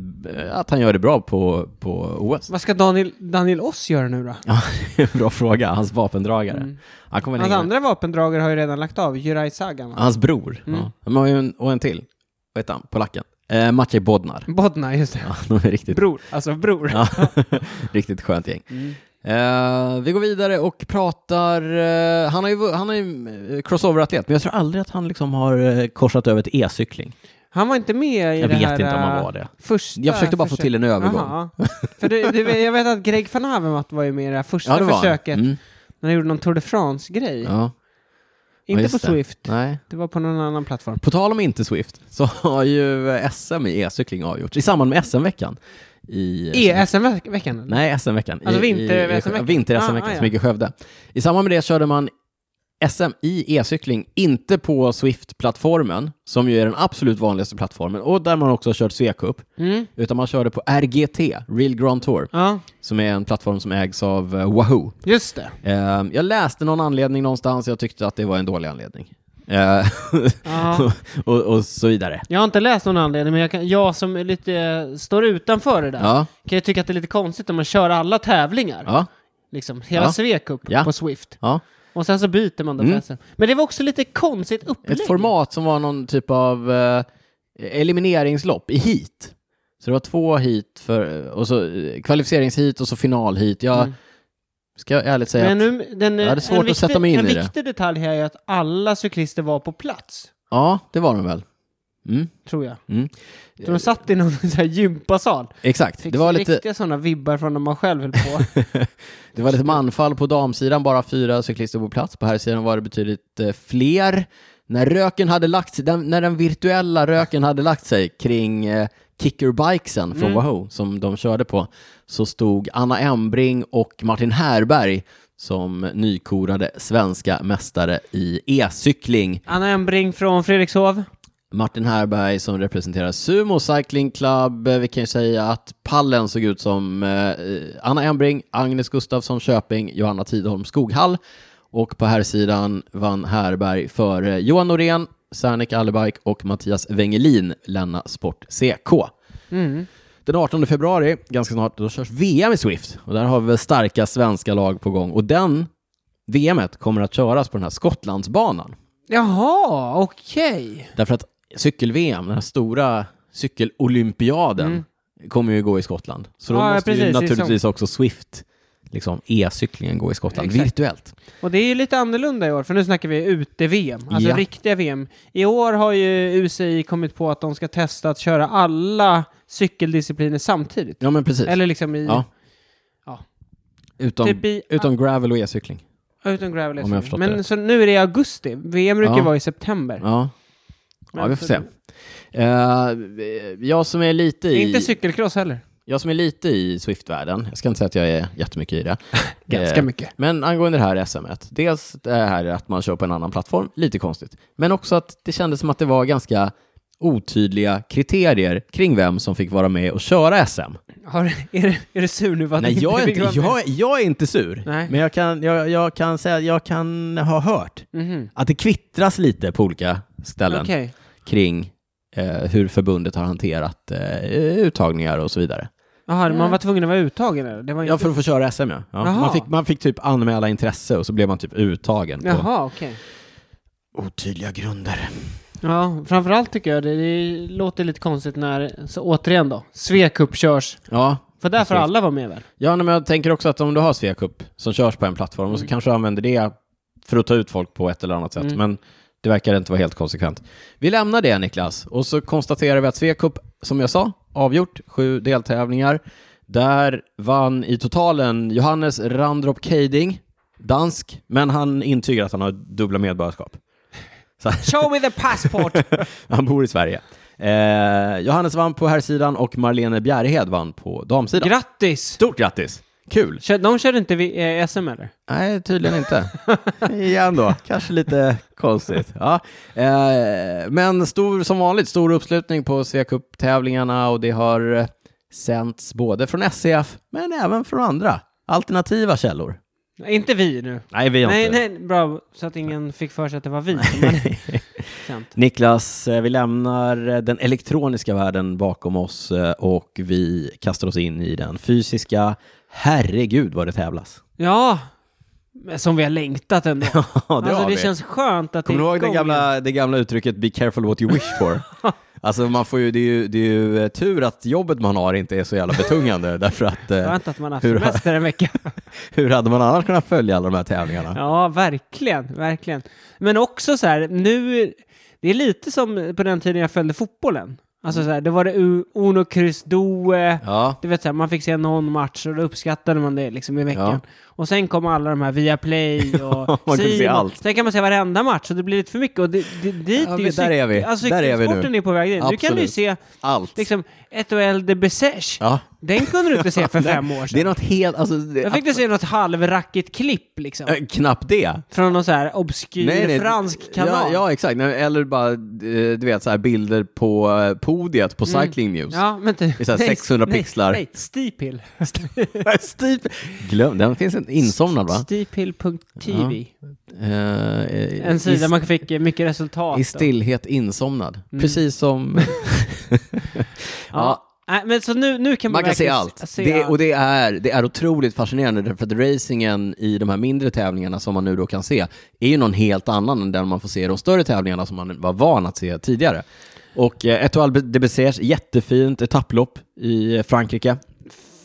att han gör det bra på, på OS.
Vad ska Daniel, Daniel Oss göra nu då?
Ja, det är en *laughs* bra fråga. Hans vapendragare.
Mm.
Han kommer
Hans
hänga med.
andra vapendragare har ju redan lagt av, Juraj Sagan. va?
Hans bror.
Mm.
Ja. Men har ju en, och en till. Vad heter han? Polacken. Eh, Maciej Bodnar.
Bodna, just det.
Ja, *laughs* de är riktigt,
Bror, alltså bror.
ja, *laughs* riktigt skönt gäng.
Mm.
Eh, vi går vidare och pratar... Eh, han är ju, vu- han är ju eh, crossover-atlet, men jag tror aldrig att han liksom har eh, korsat över till e-cykling.
Han var inte med i
Jag
det
vet
här...
inte om
eh,
han var det.
Första
Jag försökte bara få
försök-
till en övergång.
Jaha. För det, det, jag vet att Greg van Avermaet var ju med i det här första
Ja, det var han.
försöket.
Mm,
När han gjorde någon Tour de France-grej.
ja.
inte
just
på
det.
Swift.
Nej.
Det var på någon annan plattform.
På tal om inte Swift, så *laughs* har ju eh, SM i e-cykling avgjorts i samband med SM-veckan. I,
E- ESM-veckan? eller?
Nej, SM-veckan. I-
Alltså vinter-
i- i-
SM-veckan.
Vinter-SM-veckan
Ah,
som gick i Skövde. I samband med det körde man SM i e-cykling, inte på Swift-plattformen, som ju är den absolut vanligaste plattformen, och där man också har kört C-cup,
Mm.
utan man körde på RGT, Real Grand Tour,
Ja,
som är en plattform som ägs av eh, Wahoo.
just det.
Ehm, jag läste någon anledning någonstans, jag tyckte att det var en dålig anledning. Eh,
Ja.
*laughs* och, och så vidare.
Jag har inte läst någon anledning, men jag, kan, jag som är lite eh, står utanför det där
Ja,
kan ju tycka att det är lite konstigt om man kör alla tävlingar.
ja,
Liksom, hela
Ja.
Svecup
Ja.
på Swift.
ja.
Och sen så byter man då
Mm.
mm. Men det var också lite konstigt upplägg.
Ett format som var någon typ av eh, elimineringslopp i heat. Så det var två heat för, och så eh, kvalificeringsheat och så finalheat. Jag
Mm.
ska ärligt säga
Men
att,
nu, den,
Jag hade svårt
en
att
viktig,
sätta mig in
en
i det.
viktig detalj här är att alla cyklister var på plats,
ja, det var de väl. Mm,
tror jag.
mm.
Så de satt i någon *laughs* så här gympasal.
Exakt,
Fick
det var, lite,
riktiga sådana vibbar från när man själv höll på.
*laughs* det var lite manfall på damsidan, bara fyra cyklister på plats. På herrsidan var det betydligt eh, fler. När röken hade lagt sig, den, när den virtuella röken hade lagt sig kring eh, kickerbikesen från Wahoo som de körde på, så stod Anna Embring och Martin Härberg som nykorade svenska mästare i e-cykling.
Anna Embring från Fredrikshov.
Martin Härberg som representerar Sumo Cycling Club. Eh, Vi kan ju säga att pallen såg ut som eh, Anna Embring, Agnes Gustafsson Köping, Johanna Tidholm Skoghall. Och på här sidan vann Härberg före Johan Norén, Serneke Alibajk och Mattias Wengelin, Länna Sport CK. Den 18 februari, ganska snart, då körs VM i Swift. Och där har vi väl starka svenska lag på gång. Och den VMet kommer att köras på den här Skottlandsbanan.
Jaha, okej.
Därför att cykel-VM, den här stora cykelolympiaden, kommer ju gå i Skottland. Så då
Mm. Ja,
måste
precis,
ju
det är
naturligtvis också Swift, liksom e-cyklingen, gå i Skottland
Exakt.
virtuellt.
Och det är ju lite annorlunda i år, för nu snackar vi ute-VM, alltså
Ja.
riktiga VM. I år har ju UCI kommit på att de ska testa att köra alla cykeldiscipliner samtidigt.
Ja, men precis.
Eller liksom i...
Ja.
Ja.
Utom,
Typ i-
utom gravel och e-cykling.
Utan gravel. liksom.
Om jag har förstått det
Men
rätt.
så nu är det i augusti. VM brukar
Ja.
vara i september.
Ja. ja,
Men
vi får
så-
se. Eh, jag, som är lite i,
Inte cykelcross heller.
jag som är lite i Swift-världen, jag ska inte säga att jag är jättemycket i det.
*laughs* Ganska
Eh,
mycket.
Men angående det här SM, -et, dels det här att man kör på en annan plattform, lite konstigt, men också att det kändes som att det var ganska otydliga kriterier kring vem som fick vara med och köra SM.
Har, är, det, är du sur nu? för att
Nej,
du
jag är
fick
inte,
vara med?
jag, jag är inte sur,
Nej.
men jag kan, jag, jag kan säga att jag kan ha hört
Mhm.
att det kvittras lite på olika ställen
Okej.
kring eh, hur förbundet har hanterat eh, uttagningar och så vidare.
Jaha, man var tvungen att vara uttagen eller? Det var inte...
Ja, för att få köra SM ja. ja.
Jaha.
Man, fick, man fick typ anmäla intresse och så blev man typ uttagen på
Jaha, okej.
otydliga grunder.
Ja, framförallt tycker jag det, det låter lite konstigt när, så återigen då, Svecup körs.
Ja,
För där får
Precis.
alla vara med väl?
ja nej, men jag tänker också att om du har Sveacup som körs på en plattform och så kanske du använder det för att ta ut folk på ett eller annat sätt, men det verkar inte vara helt konsekvent. Vi lämnar det Niklas och så konstaterar vi att Sveacup, som jag sa, avgjort sju deltävlingar. Där vann i totalen Johannes Randrop Keiding, dansk, men han intygar att han har dubbla medborgarskap. Så
Show me the passport!
han bor i Sverige. Eh, Johannes vann på herrsidan och Marlene Bjärehed vann på damsidan.
*laughs* Grattis!
Stort grattis! Kul!
Kör- De körde inte vi- eh, SM eller?
Nej, tydligen *laughs* inte. Igen då, kanske lite konstigt. Ja. Eh, men stor, som vanligt, stor uppslutning på Svea-cup-tävlingarna och det har E eh, sänts både från SCF men även från andra alternativa källor.
Nej, Inte vi nu.
Nej, vi har
Nej,
inte.
nej, bra. Så att ingen fick för sig att det var vi som hade *laughs* sänt.
Niklas, eh, vi lämnar eh, den elektroniska världen bakom oss eh, och vi kastar oss in i den fysiska. Herregud vad det tävlas.
Ja, men som vi har längtat ändå.
Ja,
alltså, det känns skönt att
Kommer
det
du
är
ihåg det
igång igen.
gamla, det gamla uttrycket “Be careful what you wish
*laughs*
for”? Alltså man får ju, det, är ju, det är ju eh, tur att jobbet man har inte är så jävla betungande *laughs* därför att eh,
Skönt att man har haft
Hur har-
semester
*laughs*
en vecka.
hur hade man annars kunnat följa alla de här tävlingarna?
Ja, verkligen, verkligen. Men också så här, nu, det är lite som på den tiden jag följde fotbollen. Alltså så här, det var det U- Uno Cruz Due,
Ja,
du vet så här, man fick se någon match och då uppskattade man det liksom i veckan. Och sen kom alla de här via play
*laughs*
och
Man kunde se
Simon.
allt.
Sen kan man se varenda match och det blir lite för mycket. Och det, det, dit
Ja,
är
men
ju
där är vi.
Alltså,
Där är vi nu.
cykelsporten är på väg dit. Nu kan du ju
Absolut.
se
allt.
liksom Etoile de Besech.
Ja.
Den kunde du inte
*laughs*
se för fem år
Det är
sedan.
något helt, alltså, det,
Jag fick du se något halvrackigt klipp liksom.
äh, knappt det.
Från någon så här obskyr
Nej, nej.
fransk kanal.
Ja, ja exakt. Nej, Eller bara, eh, du vet, så här bilder på eh, podiet på Cycling News.
Mm.
*laughs*
Ja, men typ.
Det är så här 600 pixlar.
Nej, Steephill.
Steep. Typ. Glöm, den finns inte *laughs* insomnad va?
Steephill.tv.
Eh, eh,
En
i-
sida man fick eh, mycket resultat.
I
av.
stillhet insomnad.
Mm.
Precis
*laughs*
som... ja,
Ja. Nej, men så nu, nu kan man,
man kan se
verkligen
allt.
se
Det,
allt.
och det är, det är otroligt fascinerande därför att racingen i de här mindre tävlingarna som man nu då kan se är ju någon helt annan än den man får se i de större tävlingarna som man var van att se tidigare. Och eh, Etoile de Besers, jättefint etapplopp i Frankrike.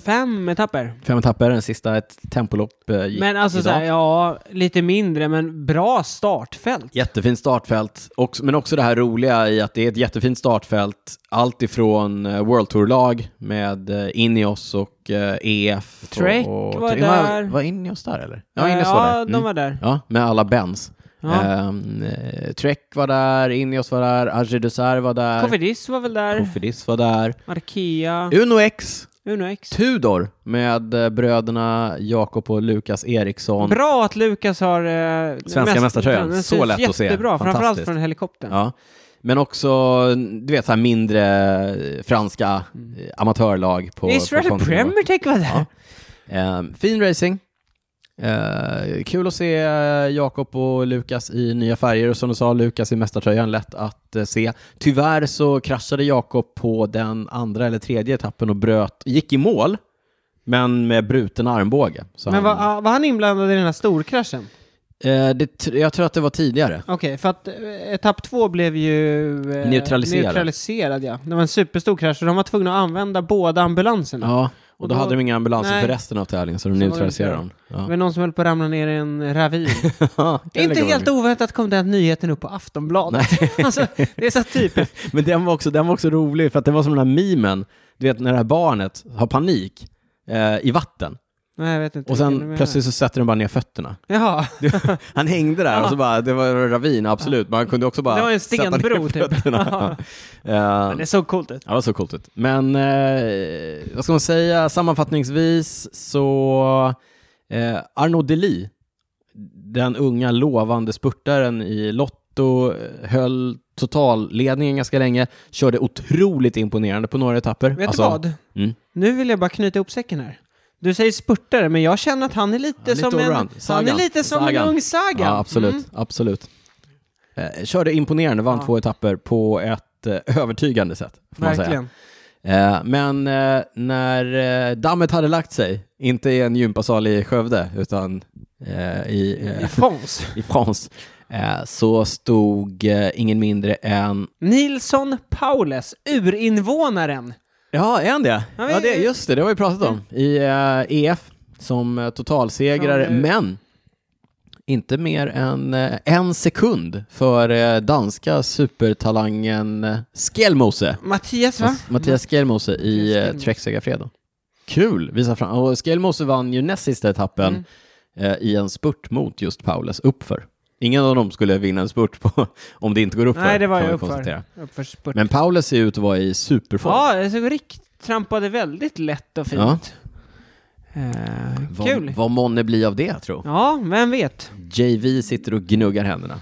Fem etapper.
Fem etapper, den sista ett tempolopp eh, gick
Men alltså
idag.
så här, ja, lite mindre, men bra startfält.
Jättefint startfält, och, men också det här roliga i att det är ett jättefint startfält. Allt ifrån eh, World Tour-lag med eh, Ineos och eh, EF.
Trek
och, och,
var
Tre-
där.
Var Ineos där eller? Ja,
Eh,
Ineos var
ja
där.
de
Mm.
var där.
Ja, med alla Bens.
Ja.
Ehm, eh, Trek var där, Ineos var där, Agir Dessert var där,
Kofidis var väl där.
Kofidis var där.
Arkea.
Uno X,
Uno X.
Tudor med eh, bröderna Jakob och Lukas Eriksson.
Bra att Lukas har... Eh,
Svenska mästartröjan.
den
Så
syns
lätt att se.
Jättebra, framförallt
Fantastiskt.
från helikoptern.
Ja. Men också, du vet, så här mindre eh, franska eh, amatörlag på... på
Israel
kontinenten.
Premier Tech var där.
Ja. Ehm, fin racing. Ehm, kul att se eh, Jakob och Lukas i nya färger och som du sa, Lukas i mästartröjan, lätt att eh, se. Tyvärr så kraschade Jakob på den andra eller tredje etappen och bröt, gick i mål, men med bruten armbåge. Så
Men
han,
var, var han inblandad i den här storkraschen?
Eh, det, tr- jag tror att det var tidigare.
Okej, för att eh, etapp två blev ju... Eh,
Neutraliserad.
neutraliserad, ja. Det var en superstor krasch och de var tvungna att använda båda ambulanserna.
Ja, och
Och
då,
då-
hade de inga ambulanser
Nej.
för resten av tävlingen, så de
Så var det
neutraliserade dem.
inte. Det
Ja.
var någon som höll på att ramla ner i
*laughs*
en ravin.
Ja,
Det är inte helt oväntat kom den nyheten upp på Aftonbladet. *laughs* alltså, det är så typiskt.
Men den var, också, den var också rolig, för att det var som den här mimen, du vet när det här barnet har panik eh, i vatten,
Nej, jag vet inte.
och
vilken du
sen
menar.
plötsligt så sätter den bara ner fötterna.
Jaha.
Han hängde där och så bara, det var en ravin, absolut, men han kunde också bara
Det var en
sätta ner
stenbro, typ. *laughs*
fötterna. Eh,
Men det såg coolt ut.
Ja, det var så coolt ut. Men eh, vad ska man säga, sammanfattningsvis så eh, Arnaud Deli, den unga lovande spurtaren i Lotto, eh, höll totalledningen ganska länge, körde otroligt imponerande på några etapper.
Vet
Alltså,
du vad?
Mm.
Nu vill jag bara knyta ihop säcken här. Du säger spurtare, men jag känner att han är lite,
Ja, lite
som, en,
allround.
han är
Sagan.
lite som en
Sagan.
ung Sagan.
Ja, absolut.
Mm.
absolut. Eh, körde imponerande, vann
Ja.
två etapper på ett eh, övertygande sätt. Får man säga.
Verkligen.
Eh, men eh, när eh, dammet hade lagt sig, inte i en gympasal i Skövde, utan eh, i,
I
eh, *laughs*
Fons.
i France, eh, så stod eh, ingen mindre än...
Nilsson Paules, urinvånaren.
Ja, är han det?
Ja,
Ja, det,
vi-
just det, det har vi pratat om. I eh, EF som eh, totalsegrare,
Som, eh,
men inte mer än eh, en sekund för eh, danska supertalangen eh, Skelmose.
Mattias, va?
Mattias Skelmose i eh,
Skelmose.
Trek Segafredo. Kul, visa fram. Och Skelmose vann ju näst sista etappen
Mm.
eh, i en spurt mot just Paulus uppför. Ingen av dem skulle vinna en spurt på, *laughs* om det inte går uppför.
Nej, det var
kan
ju
man
uppför.
konstatera.
uppför spurt.
Men Paulus ser ut att vara i superform.
Ja, det såg rikt, trampade väldigt lätt och fint. Eh,
vad,
kul.
Vad månne blir av det, tror
Ja, vem vet.
JV sitter och gnuggar händerna.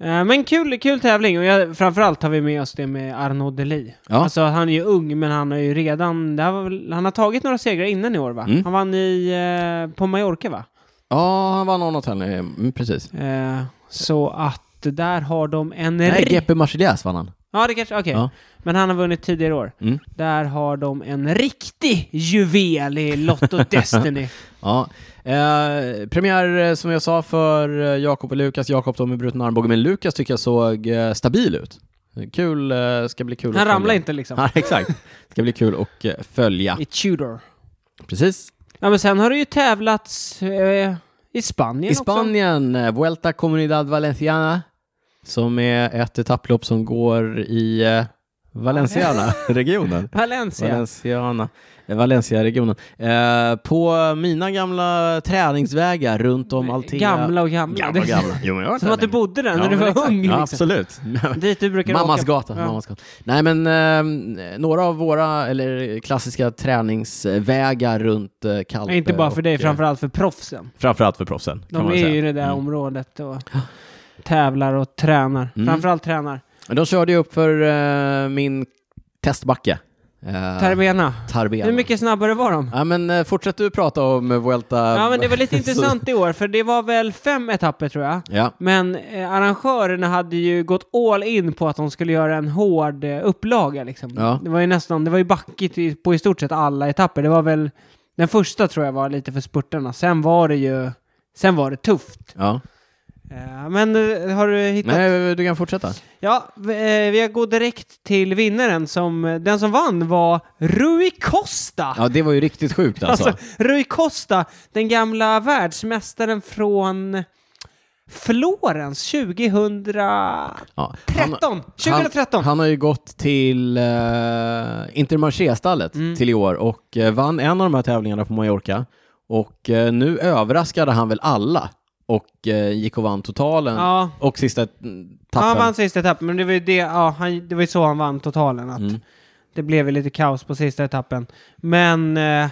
Eh, men kul, kul tävling och jag, framförallt tar vi med oss det med Arnaud Deli.
Ja.
Alltså han är ju ung, men han har ju redan, det här var väl, han har tagit några segrar innan i år va?
Mm.
Han vann i, eh, på Mallorca va?
Ja, han vann något här nu. Mm, precis.
Eh, så att där har de en...
Nej,
ri-
GP Marsiljäs vann han.
ja, det kanske... Okej.
Ja.
Men han har vunnit tidigare år.
Mm.
Där har de en riktig juvel
*laughs*
i Lotto Destiny.
Ja. Eh, premiär eh, som jag sa för eh, Jakob och Lukas. Jakob då med bruten armbåge, men Lukas tycker jag såg eh, stabil ut. Kul, eh, ska bli kul att
Han
följa. *laughs*
ramlar inte liksom.
Nej, exakt. Ska bli kul att eh, följa.
I Tudor.
Precis.
Ja, men sen har det ju tävlats eh, i Spanien
I
också.
Spanien, eh, Vuelta Comunidad Valenciana, som är ett etapplopp som går i eh,
*laughs*
Valenciana-regionen.
Valencia.
Valenciana. Eh, Valencia-regionen. Eh, på mina gamla träningsvägar runt om Altea.
Gamla och gamla.
Gamla, och gamla. Jo, men jag har
Som
varit
att
där
du
länge.
bodde där när
Ja,
du
men
var
exakt.
ung.
Ja,
Liksom.
absolut.
Dit du brukar
Mammas
åka.
gata,
Ja.
mammas gata. Nej men eh, några av våra, eller klassiska träningsvägar runt eh, Kalpe.
Nej, inte bara för dig,
och, eh,
framförallt för proffsen.
Framförallt för proffsen. kan
De
man
är
säga.
ju i det där
Mm.
området och tävlar och tränar.
Mm.
Framförallt tränar.
De körde ju upp för eh, min testbacke. Eh,
Tarbena.
Tarbena.
Hur mycket snabbare var de?
Ja men eh, fortsätt du prata om eh, Vuelta.
Ja, men det var
*laughs*
lite
Så-
intressant i år, för det var väl fem etapper tror jag.
Ja,
Men eh, arrangörerna hade ju gått all in på att de skulle göra en hård eh, upplaga liksom.
Ja.
Det var ju nästan, det var ju backigt i, på i stort sett alla etapper. Det var väl, den första tror jag var lite för spurtarna. Sen var det ju, sen var det tufft.
ja.
Eh, men eh, har du hittat?
Nej, du kan fortsätta.
Ja, v- eh, vi går direkt till vinnaren som, eh, den som vann var Rui Costa.
Ja, det var ju riktigt sjukt alltså.
Alltså, Rui Costa, den gamla världsmästaren från Florens 2013.
ja. han-
2013!
Han, han har ju gått till uh, Intermarché-stallet
Mm.
till i år och eh, vann en av de här tävlingarna på Mallorca. Och eh, nu överraskade han väl alla och eh, gick och vann totalen
Ja.
och sista mm, tappen.
han vann sista etappen, men det var ju, det, ja, han, det var ju så han vann totalen. Att
Mm.
Det blev ju lite kaos på sista etappen. Men eh,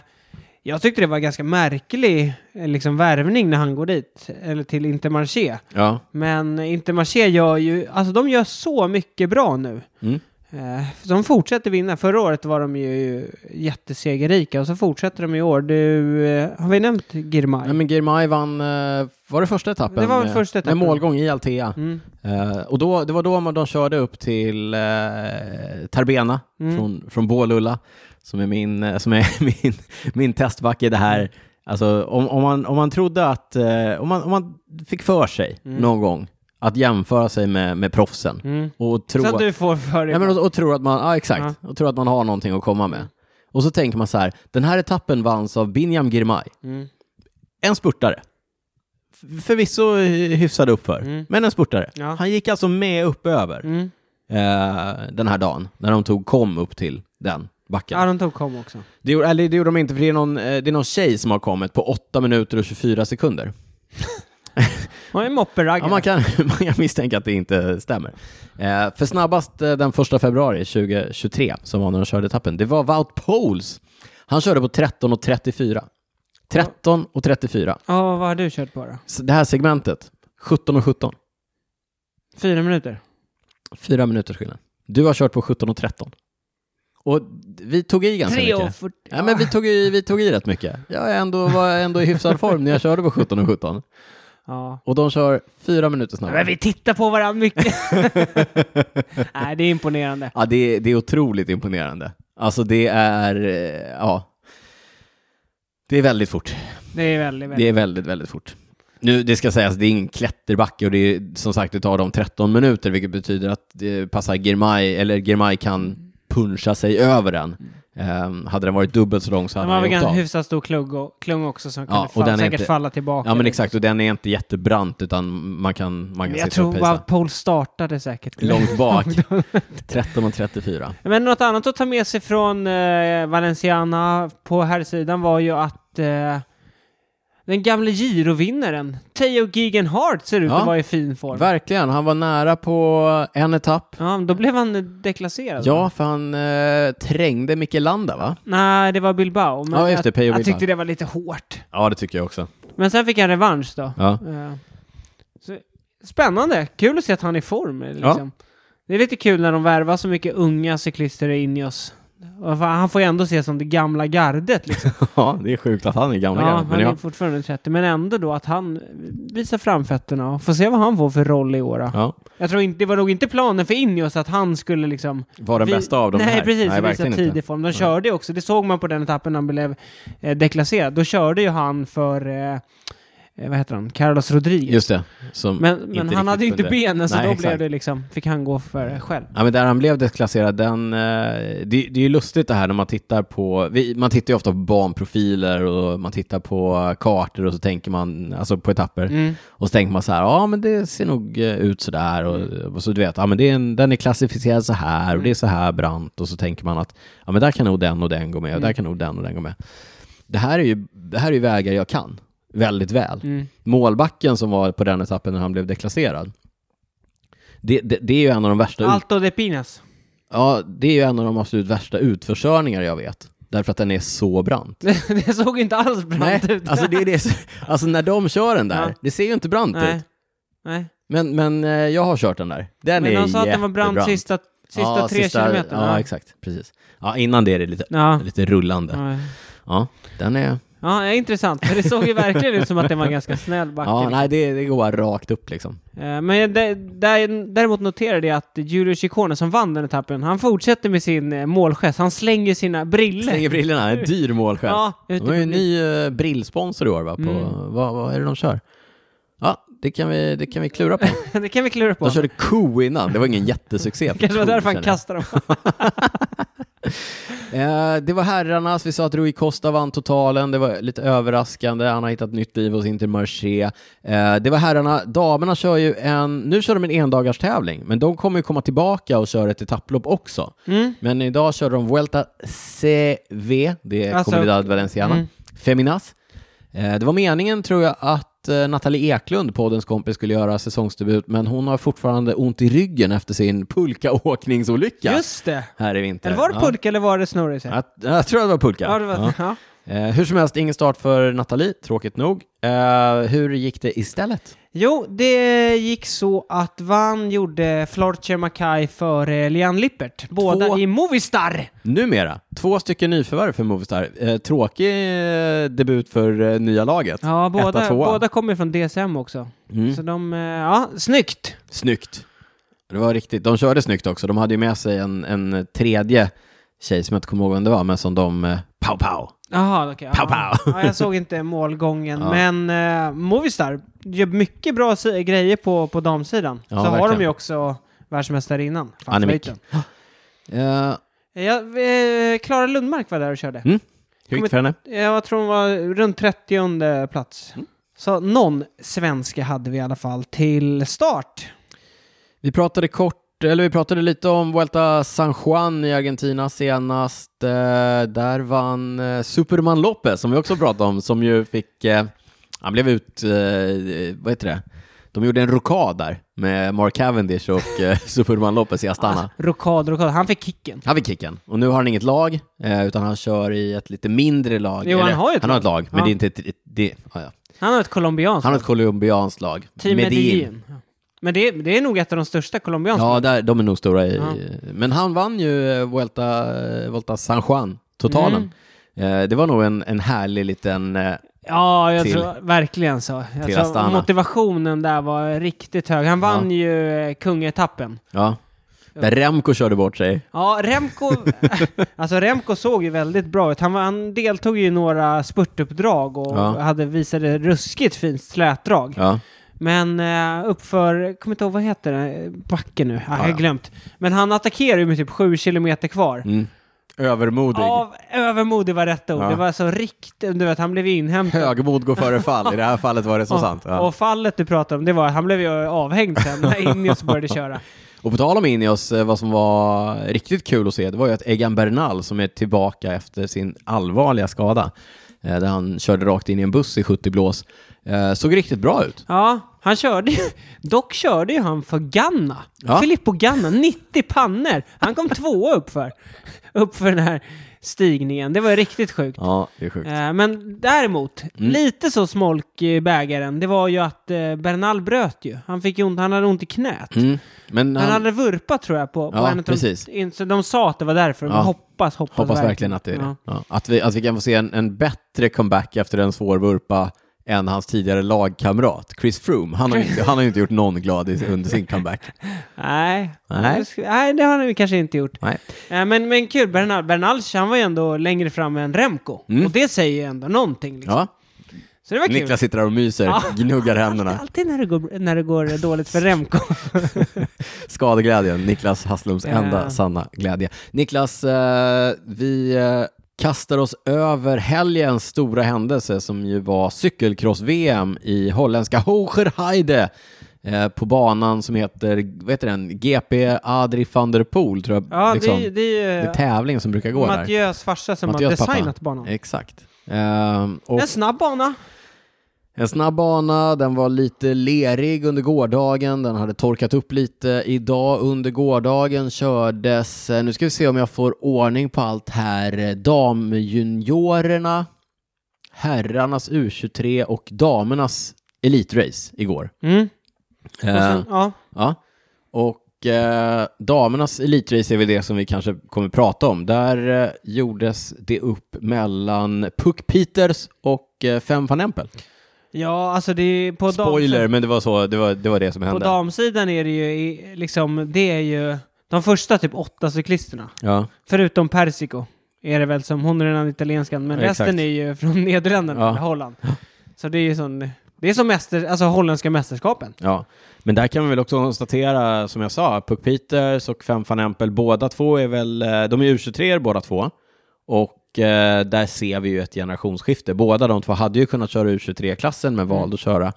jag tyckte det var ganska märklig eh, liksom, värvning när han går dit, eller till Intermarché.
Ja.
Men Intermarché gör ju, alltså de gör så mycket bra nu.
Mm.
Eh, De fortsätter vinna. Förra året var de ju jättesegerrika och så fortsätter de i år. Du, eh, har vi nämnt Girmay?
Nej, men Girmay vann, eh, var det första etappen?
Det var väl
med,
första etappen.
Med målgång i Altea.
Mm.
Eh, och då, det var då man, de körde upp till eh, Tarbena från, från Bålulla, som är min, eh, som är *laughs* min, min testbacke. Det här, alltså, om, om, man, om man trodde att, eh, om, man, om man fick för sig någon gång att jämföra sig med, med proffsen
Mm.
och tro
Så att
att-
du får för
Nej,
dig.
men och, och tror att man, ja exakt, och tror att man har någonting att komma med. Och så tänker man så här, den här etappen vanns av Binyam Girmay.
Mm.
En spurtare. F- Förvisso eh, hyfsad
Mm.
uppför, men en spurtare.
Ja.
Han gick alltså med upp över
Mm.
eh, den här dagen, när de tog kom upp till den backen.
Ja, de tog kom också.
Det, gjorde, eller, det gjorde de inte, för det är, någon, eh, det är någon tjej som har kommit på 8 minuter och 24 sekunder.
Han är mopperaggare.
Ja, man, kan, *laughs* man kan misstänka att det inte stämmer. Eh, för snabbast eh, den 1 februari 2023, som var när de körde etappen, det var Wout Poles. Han körde på 13.34. 13.34.
Ja, vad har du kört på då?
Så Det här segmentet, 17.17.
Fyra minuter?
Fyra minuters skillnad. Du har kört på 17 och 13. Och vi tog i ganska
Tre och
mycket.
fyrtio.
Ja, men vi tog i, vi tog i rätt mycket. Jag är ändå, var ändå i hyfsad form när jag körde på 17 och 17.
Ja.
Och de kör fyra minuter
Ja, Men
snabbare.
vi tittar på
*laughs*
varandra mycket. Nej, det är imponerande.
Ja, det, är- det är otroligt imponerande. Alltså det är, eh, ja. Det är väldigt fort.
Det är väldigt, väldigt.
Det är väldigt, väldigt fort. Nu, det ska sägas, det är ingen klätterbacke och det är som sagt, det tar dem 13 minuter, vilket betyder att det passar Girmay, eller Girmay kan puncha sig över den. Ehm, hade den varit dubbelt så lång så
De
hade
har
han
väl
åkt
ganska
av.
hyfsat stor klugg och, klung också som
Ja,
kunde
och
fall,
den är
säkert
inte-
falla tillbaka.
Ja men
lite.
exakt, och den är inte jättebrant utan man kan, man kan
liksom. Jag
sitta och
tror
pejsa.
att Paul startade säkert.
Långt
*laughs*
bak, 13.34.
Men något annat att ta med sig från eh, Valenciana på här sidan var ju att eh, den gamle girovinnaren Theo Gegenhardt ser ut
Ja.
att vara i fin form.
Verkligen, han var nära på en etapp.
ja, men då blev han eh, deklasserad. va?
Ja, för han eh, trängde Mikkelanda va?
Nej, det var Bilbao. Men
Ja, just det,
jag,
Theo
jag
Bilbao.
tyckte det var lite hårt.
Ja, det tycker jag också.
Men sen fick han revansch då.
Ja.
Eh, så, spännande. Kul eh, att se att han är i form. Liksom. Det är lite kul när de värvar så mycket unga cyklister i Ineos. Han får ju ändå ses som det gamla gardet. Liksom.
*laughs* Ja, det är sjukt att han är gammal.
Ja,
Ja,
han
men
är
ja.
fortfarande 30, men ändå då att han visar framfötterna och får se vad han får för roll i år. då.
Ja,
Jag tror inte, det var nog inte planen för Ineos att han skulle liksom...
var den
vi-
bästa av dem
Nej,
här.
precis.
Nej,
visa
verkligen
tidig
inte.
form. De körde ju också, det såg man på den etappen när han blev eh, deklasserad. Då körde ju han för, eh, eh, vad heter han, Carlos Rodriguez.
Just det. Som
men
Mm. inte
men
riktigt
han hade ju inte
kunde-
benen så
Nej,
då
exakt.
blev det liksom, fick han gå för själv.
Ja, men där han blev deklasserad, den, eh, det, det är ju lustigt det här när man tittar på, vi, man tittar ju ofta på banprofiler och man tittar på kartor och så tänker man, alltså på etapper,
Mm.
och så tänker man så här, ja men det ser nog eh, ut så där och,
Mm.
och så du vet, ja men det är en, den är klassificerad så här och det är så här brant och så tänker man att, ja men där kan nog den och den gå med och
Mm.
där kan nog den och den gå med. Det här är ju, det här är ju vägar jag kan väldigt väl
Mm.
målbacken som var på den etappen när han blev deklasserad. Det, det, det är ju en av de värsta, ut,
Alto de Pinas. *laughs*
ja, det är ju en av de absolut värsta utförskörningar jag vet. Därför att den är så brant.
det såg inte alls
Nej,
brant ut.
alltså, det är det, alltså när de kör den där,
Ja.
det ser ju inte brant
Nej.
ut.
Nej.
Men, men eh, jag har kört den där. Den
Men
är
de sa att den var brant
jättebrant.
sista, sista
Ja,
tre kilometerna.
Ja, exakt. Precis. Ja, innan det är det lite,
Ja.
lite rullande.
Ja.
Ja, den är...
Ja, det är intressant. För det såg ju verkligen ut som att det var en ganska snäll backe.
Ja, nej, det, det går bara rakt upp liksom.
Eh, Men det- där- däremot noterade jag att Julio Ciccone som vann den etappen, han fortsätter med sin eh, målgest. Han slänger sina briller.
Slänger brillorna, en dyr målgest.
Ja,
De har ju Mm. en ny eh, brillsponsor i år va? På, vad, vad är det de kör? Ja, det kan vi, det kan vi klura på.
*laughs* det kan vi klura
*laughs*
på.
De körde ko innan, *laughs* det var ingen jättesuccé. för
kanske var
ko,
därför han
känner jag.
kastade dem.
Eh, det var herrarnas, vi sa att Rui Costa vann totalen, det var lite överraskande, han har hittat nytt liv hos Intermarché. Eh, det var herrarna, damerna kör ju en, nu kör de en endagarstävling, men de kommer ju komma tillbaka och köra ett etapplopp också.
Mm.
Men idag kör de Vuelta CV, det är
Alltså-
Comunidad Valenciana,
Mm.
Feminas. Eh, Det var meningen, tror jag, att eh, Nathalie Eklund, poddens kompis, skulle göra säsongsdebut, men hon har fortfarande ont i ryggen efter sin pulkaåkningsolycka
Just det!
här i vinter.
Eller var det
Ja.
pulka eller var det snurrig?
Jag, jag tror att det var pulka.
Ja, det var,
Ja.
ja.
Eh, hur som helst, ingen start för Nathalie, tråkigt nog. Eh, hur gick det istället?
Jo, det gick så att Van gjorde Florcher Mackay före Lian Lippert. Båda
Två-
i Movistar!
Numera, två stycken nyförvärv för Movistar. Eh, tråkig eh, debut för eh, nya laget.
Ja, båda,
tvåa.
båda kommer från DSM också.
Mm.
Så de, eh, ja, snyggt!
Snyggt. Det var riktigt. De körde snyggt också. De hade ju med sig en, en tredje tjej som jag inte kommer ihåg vem det var, men som de eh, pow pow.
Jaha, okej.
Pow,
ja.
pow.
Ja, jag såg inte
*laughs*
målgången,
Ja.
men eh, Movistar gör mycket bra si- grejer på, på damsidan.
Ja,
Så har
verkligen.
de ju också världsmästarinnan,
Annemick.
favoriten.
Eh,
Ja, eh, Klara Lundmark var där och körde.
Mm. hur gick det för henne?
Eh, Jag tror hon var runt 30 plats.
Mm.
Så någon svenska hade vi i alla fall till start.
Vi pratade kort, eller vi pratade lite om Vuelta San Juan i Argentina senast. Eh, där vann eh, Superman Lopez, som vi också pratade om, som ju fick, eh, han blev ut, eh, vad heter det? De gjorde en rokad där med Mark Cavendish och eh, *laughs* Superman Lopez i Astana.
Ah, Rokad, rokad. Han fick kicken.
Han fick kicken. Och nu har han inget lag, eh, utan han kör i ett lite mindre lag.
Jo, han har ju ett
han har ett lag, men
Ja.
det är inte ett... ett det, ja, ja.
Han har ett colombianskt.
Han har ett colombianskt lag.
Team
Medellin.
Medellin. Ja. Men det, det är nog ett av de största colombianska.
Ja, där, de är nog stora i...
Ja.
Men han vann ju eh, Vuelta, eh, Vuelta San Juan, totalen.
Mm.
Eh, det var nog en, en härlig liten... Eh,
Ja, jag
till-
tror verkligen så. Jag
till
tror
Astana.
motivationen där var riktigt hög. Han vann ju eh, kungaetappen.
ja. Där Remco körde bort sig.
Ja, Remco,
*laughs*
alltså Remco såg ju väldigt bra ut. Han, var- han deltog ju i några spurtuppdrag och
Ja.
hade visade ruskigt fint slätdrag.
Ja.
Men eh, uppför, jag kommer inte ihåg vad heter det, backen nu, ah, jag
ja.
har glömt. Men han attackerar ju med typ sju kilometer kvar.
Mm. Övermodig.
Av övermodig var rätta ord.
Ja.
Det var så riktigt, du vet han blev inhämtad.
Högmod går före fall, i det här fallet var det *laughs* så sant. Ja.
Och fallet du pratar om, det var han blev ju avhängd
*laughs*
sen när Ineos började köra.
Och på tal om Ineos, eh, vad som var riktigt kul att se, det var ju att Egan Bernal som är tillbaka efter sin allvarliga skada, eh, där han körde rakt in i en buss i 70 blås, eh, såg riktigt bra ut.
Ja, Han körde ju, dock körde ju han för Ganna.
Ja.
Filippo Ganna, 90 panner. Han kom tvåa uppför. Uppför den här stigningen. Det var ju riktigt sjukt.
Ja, det är sjukt.
Eh, Men däremot,
Mm.
lite så smolk i bägaren, det var ju att eh, Bernal bröt ju. Han, fick ju ont, han hade ont i knät.
Mm. Men
Han
han,
hade vurpat tror jag på, på
Ja,
en av
precis.
De, in- så de sa att det var därför, men
Ja.
hoppas, hoppas,
hoppas verkligen att det är det.
Ja.
Ja. Att, vi, att vi kan få se en, en bättre comeback efter en svår vurpa än hans tidigare lagkamrat Chris Froome. Han har ju inte, han har ju inte gjort någon glad i, under sin comeback.
Nej.
Nej.
Det sk- Nej, det har han ju kanske inte gjort.
Nej.
Eh, Men, men kul, Bernal, Bernal han var ju ändå längre fram än Remco. Och det säger ju ändå någonting. Liksom.
Mm. Ja.
Så det var kul.
Niklas sitter där och myser,
Ja.
gnuggar
Alltid,
händerna.
alltid när, det går, när det går dåligt
*laughs*
för Remco.
Skadeglädjen, Niklas Hasslums enda
Ja.
sanna glädje. Niklas, eh, vi eh, kastar oss över helgens stora händelse som ju var cykelcross-VM i holländska Hogerheide eh, på banan som heter, vad heter den, GP Adri van der Poel tror jag.
Ja,
liksom.
det, är- det är
det är
ju
tävlingen som brukar gå där.
Mattias farsa som har
Mattias pappa.
designat banan.
Exakt. Ehm, och
En snabb bana.
En snabb bana, den var lite lerig under gårdagen, den hade torkat upp lite idag under gårdagen kördes, eh, nu ska vi se om jag får ordning på allt här, Eh, damjuniorerna, herrarnas U23 och damernas elitrace igår.
Mm. Och
Eh,
sen, ja.
Ja. Och eh, damernas elitrace är väl det som vi kanske kommer prata om. Där eh, gjordes det upp mellan Puck Peters och eh, Fem van Empel.
ja, alltså det är på
Spoiler,
damsidan,
men det var, så, det, var, det var det som
på
hände.
damsidan är det ju i- liksom, det är ju de första typ åtta cyklisterna.
Ja,
Förutom Persico är det väl som, hon är den italienskan, men
Ja, exakt.
resten är ju från *laughs* Nederländerna,
Ja.
eller Holland. Så det är ju sån, det är som mäster, alltså holländska mästerskapen.
ja. Men där kan vi väl också konstatera, som jag sa, Puck Peters och Fem van Empel, båda två är väl, eh, de är u 23 båda två. Och eh, där ser vi ju ett generationsskifte. Båda de två hade ju kunnat köra U23-klassen, men valde att köra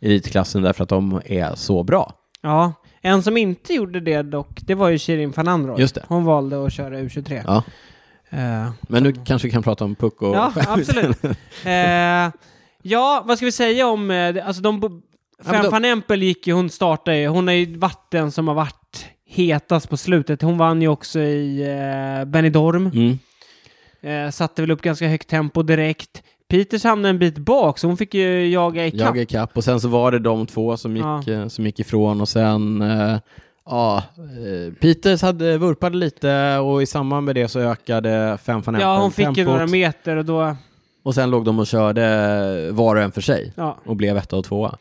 elitklassen därför att de är så bra.
Ja. En som inte gjorde det dock, det var ju Shirin van Android.
Just det.
Hon valde att köra U23.
Ja.
Eh,
Men nu kanske vi kan prata om Puck och... *laughs*
Ja, absolut. eh, ja, vad ska vi säga om... Eh, alltså de, bo-
men då-
Fem van Empel gick ju, hon startade ju. Hon är ju vatten som har varit hetast på slutet. Hon vann ju också i eh, Benidorm.
Mm.
Eh, satte väl upp ganska högt tempo direkt. Peters hamnade en bit bak, så hon fick ju jaga ikapp.
Jag är kapp och sen så var det de två som gick,
Ja.
eh, som gick ifrån och sen eh, ja, eh, Peters hade vurpade lite och i samband med det så ökade fem van
Ja,
Empel
hon fick ju
tempot.
några meter och då...
Och sen låg de och körde var och en för sig
Ja.
och blev etta och tvåa.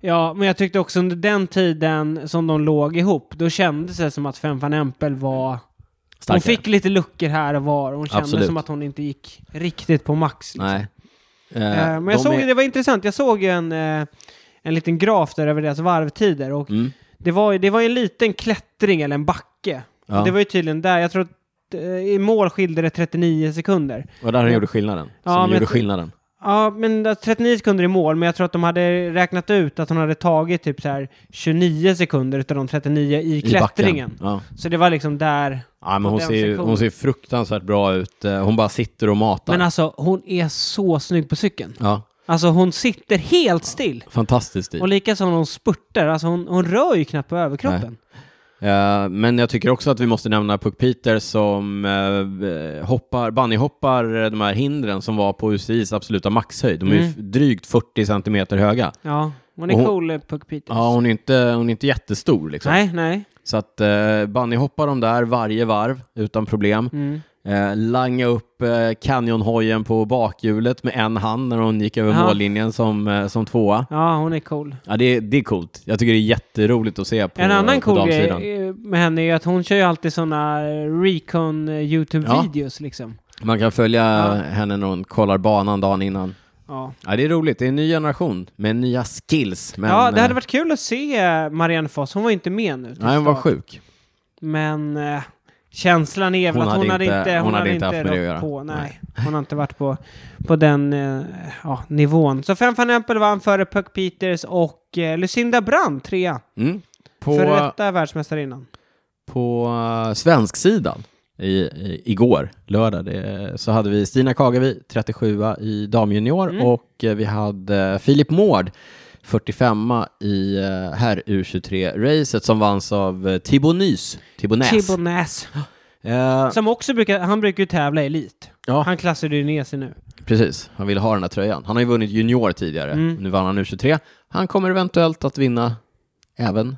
ja, men jag tyckte också under den tiden som de låg ihop, då kändes det som att Fem van Empel var...
Starkare.
Hon fick lite luckor här och var. Hon kände
Absolut.
som att hon inte gick riktigt på max. Liksom.
Nej. Eh,
Eh, men
de
jag såg,
är-
det var intressant. Jag såg ju en, eh, en liten graf där över deras varvtider. Och
Mm.
det, var, ju- det var ju en liten klättring eller en backe.
Ja.
Och Det var ju tydligen där. Jag tror att eh, i mål skilde det 39 sekunder.
Och där han gjorde skillnaden.
Ja,
som
men
gjorde
jag-
skillnaden.
Ja, men att 39 sekunder i mål, men jag tror att de hade räknat ut att hon hade tagit typ så här 29 sekunder utav de 39 i
I backen.
klättringen.
Ja.
Så det var liksom där.
Ja, men
På
hon,
den
ser ju,
sektionen.
hon ser fruktansvärt bra ut. Eh, Hon bara sitter och matar.
Men alltså, hon är så snygg på cykeln.
ja,
Alltså hon sitter helt still.
fantastisk stil.
Och lika som hon spurtar, alltså hon, hon rör ju knappt på överkroppen.
Eh, men jag tycker också att vi måste nämna Puck Peter som eh, hoppar, bunnyhoppar eh, de här hindren som var på UCIs absoluta maxhöjd. De är ju
Mm.
f- drygt 40 centimeter höga.
Ja, hon är
Och hon-
cool, eh, Puck Peters.
Ja, hon är inte, hon är inte jättestor liksom.
nej, nej.
Så att eh, bunnyhoppar de där varje varv utan problem.
Mm.
Eh, langa upp eh, Canyon-hojen på bakhjulet med en hand när hon gick över
Ja.
mållinjen som, eh, som tvåa.
Ja, hon är cool.
Ja, det, är- det är coolt. Jag tycker det är jätteroligt att se på
en annan
på
cool grej
damsidan.
eh, med henne är ju att hon kör ju alltid sådana recon eh, YouTube-videos liksom.
Man kan följa
Ja.
henne när hon kollar banan dagen innan.
Ja.
Ja, det är roligt. Det är en ny generation med nya skills. Men,
ja, det hade
eh,
varit kul att se eh, Marianne Foss. Hon var ju inte med nu. till
Nej, hon var
start.
sjuk.
Men eh, känslan är väl
Hon
att hon hade inte, hon hade inte
haft med det att
rått
göra.
på. Nej.
Nej.
Hon har inte varit på, på den eh, ja, nivån. Så Fem van Empel vann före Puck Peters och eh, Lucinda Brand trea.
Mm.
Före
På,
detta världsmästarinnan.
på eh, svensk sidan i, i, igår, lördag, det, så hade vi Stina Kagavi, 37 i damjunior
Mm.
och eh, vi hade eh, Filip Mård, 45 i eh, här U23-racet som vanns av eh, Tibo Nys. Tibo Näs.
Tibbo Näs.
Eh,
Som också brukar, han brukar ju tävla i elit.
Ja.
Han klassade ju ner sig nu.
precis, han ville ha den här tröjan. Han har ju vunnit junior tidigare.
Mm.
Nu vann han U23. Han kommer eventuellt att vinna även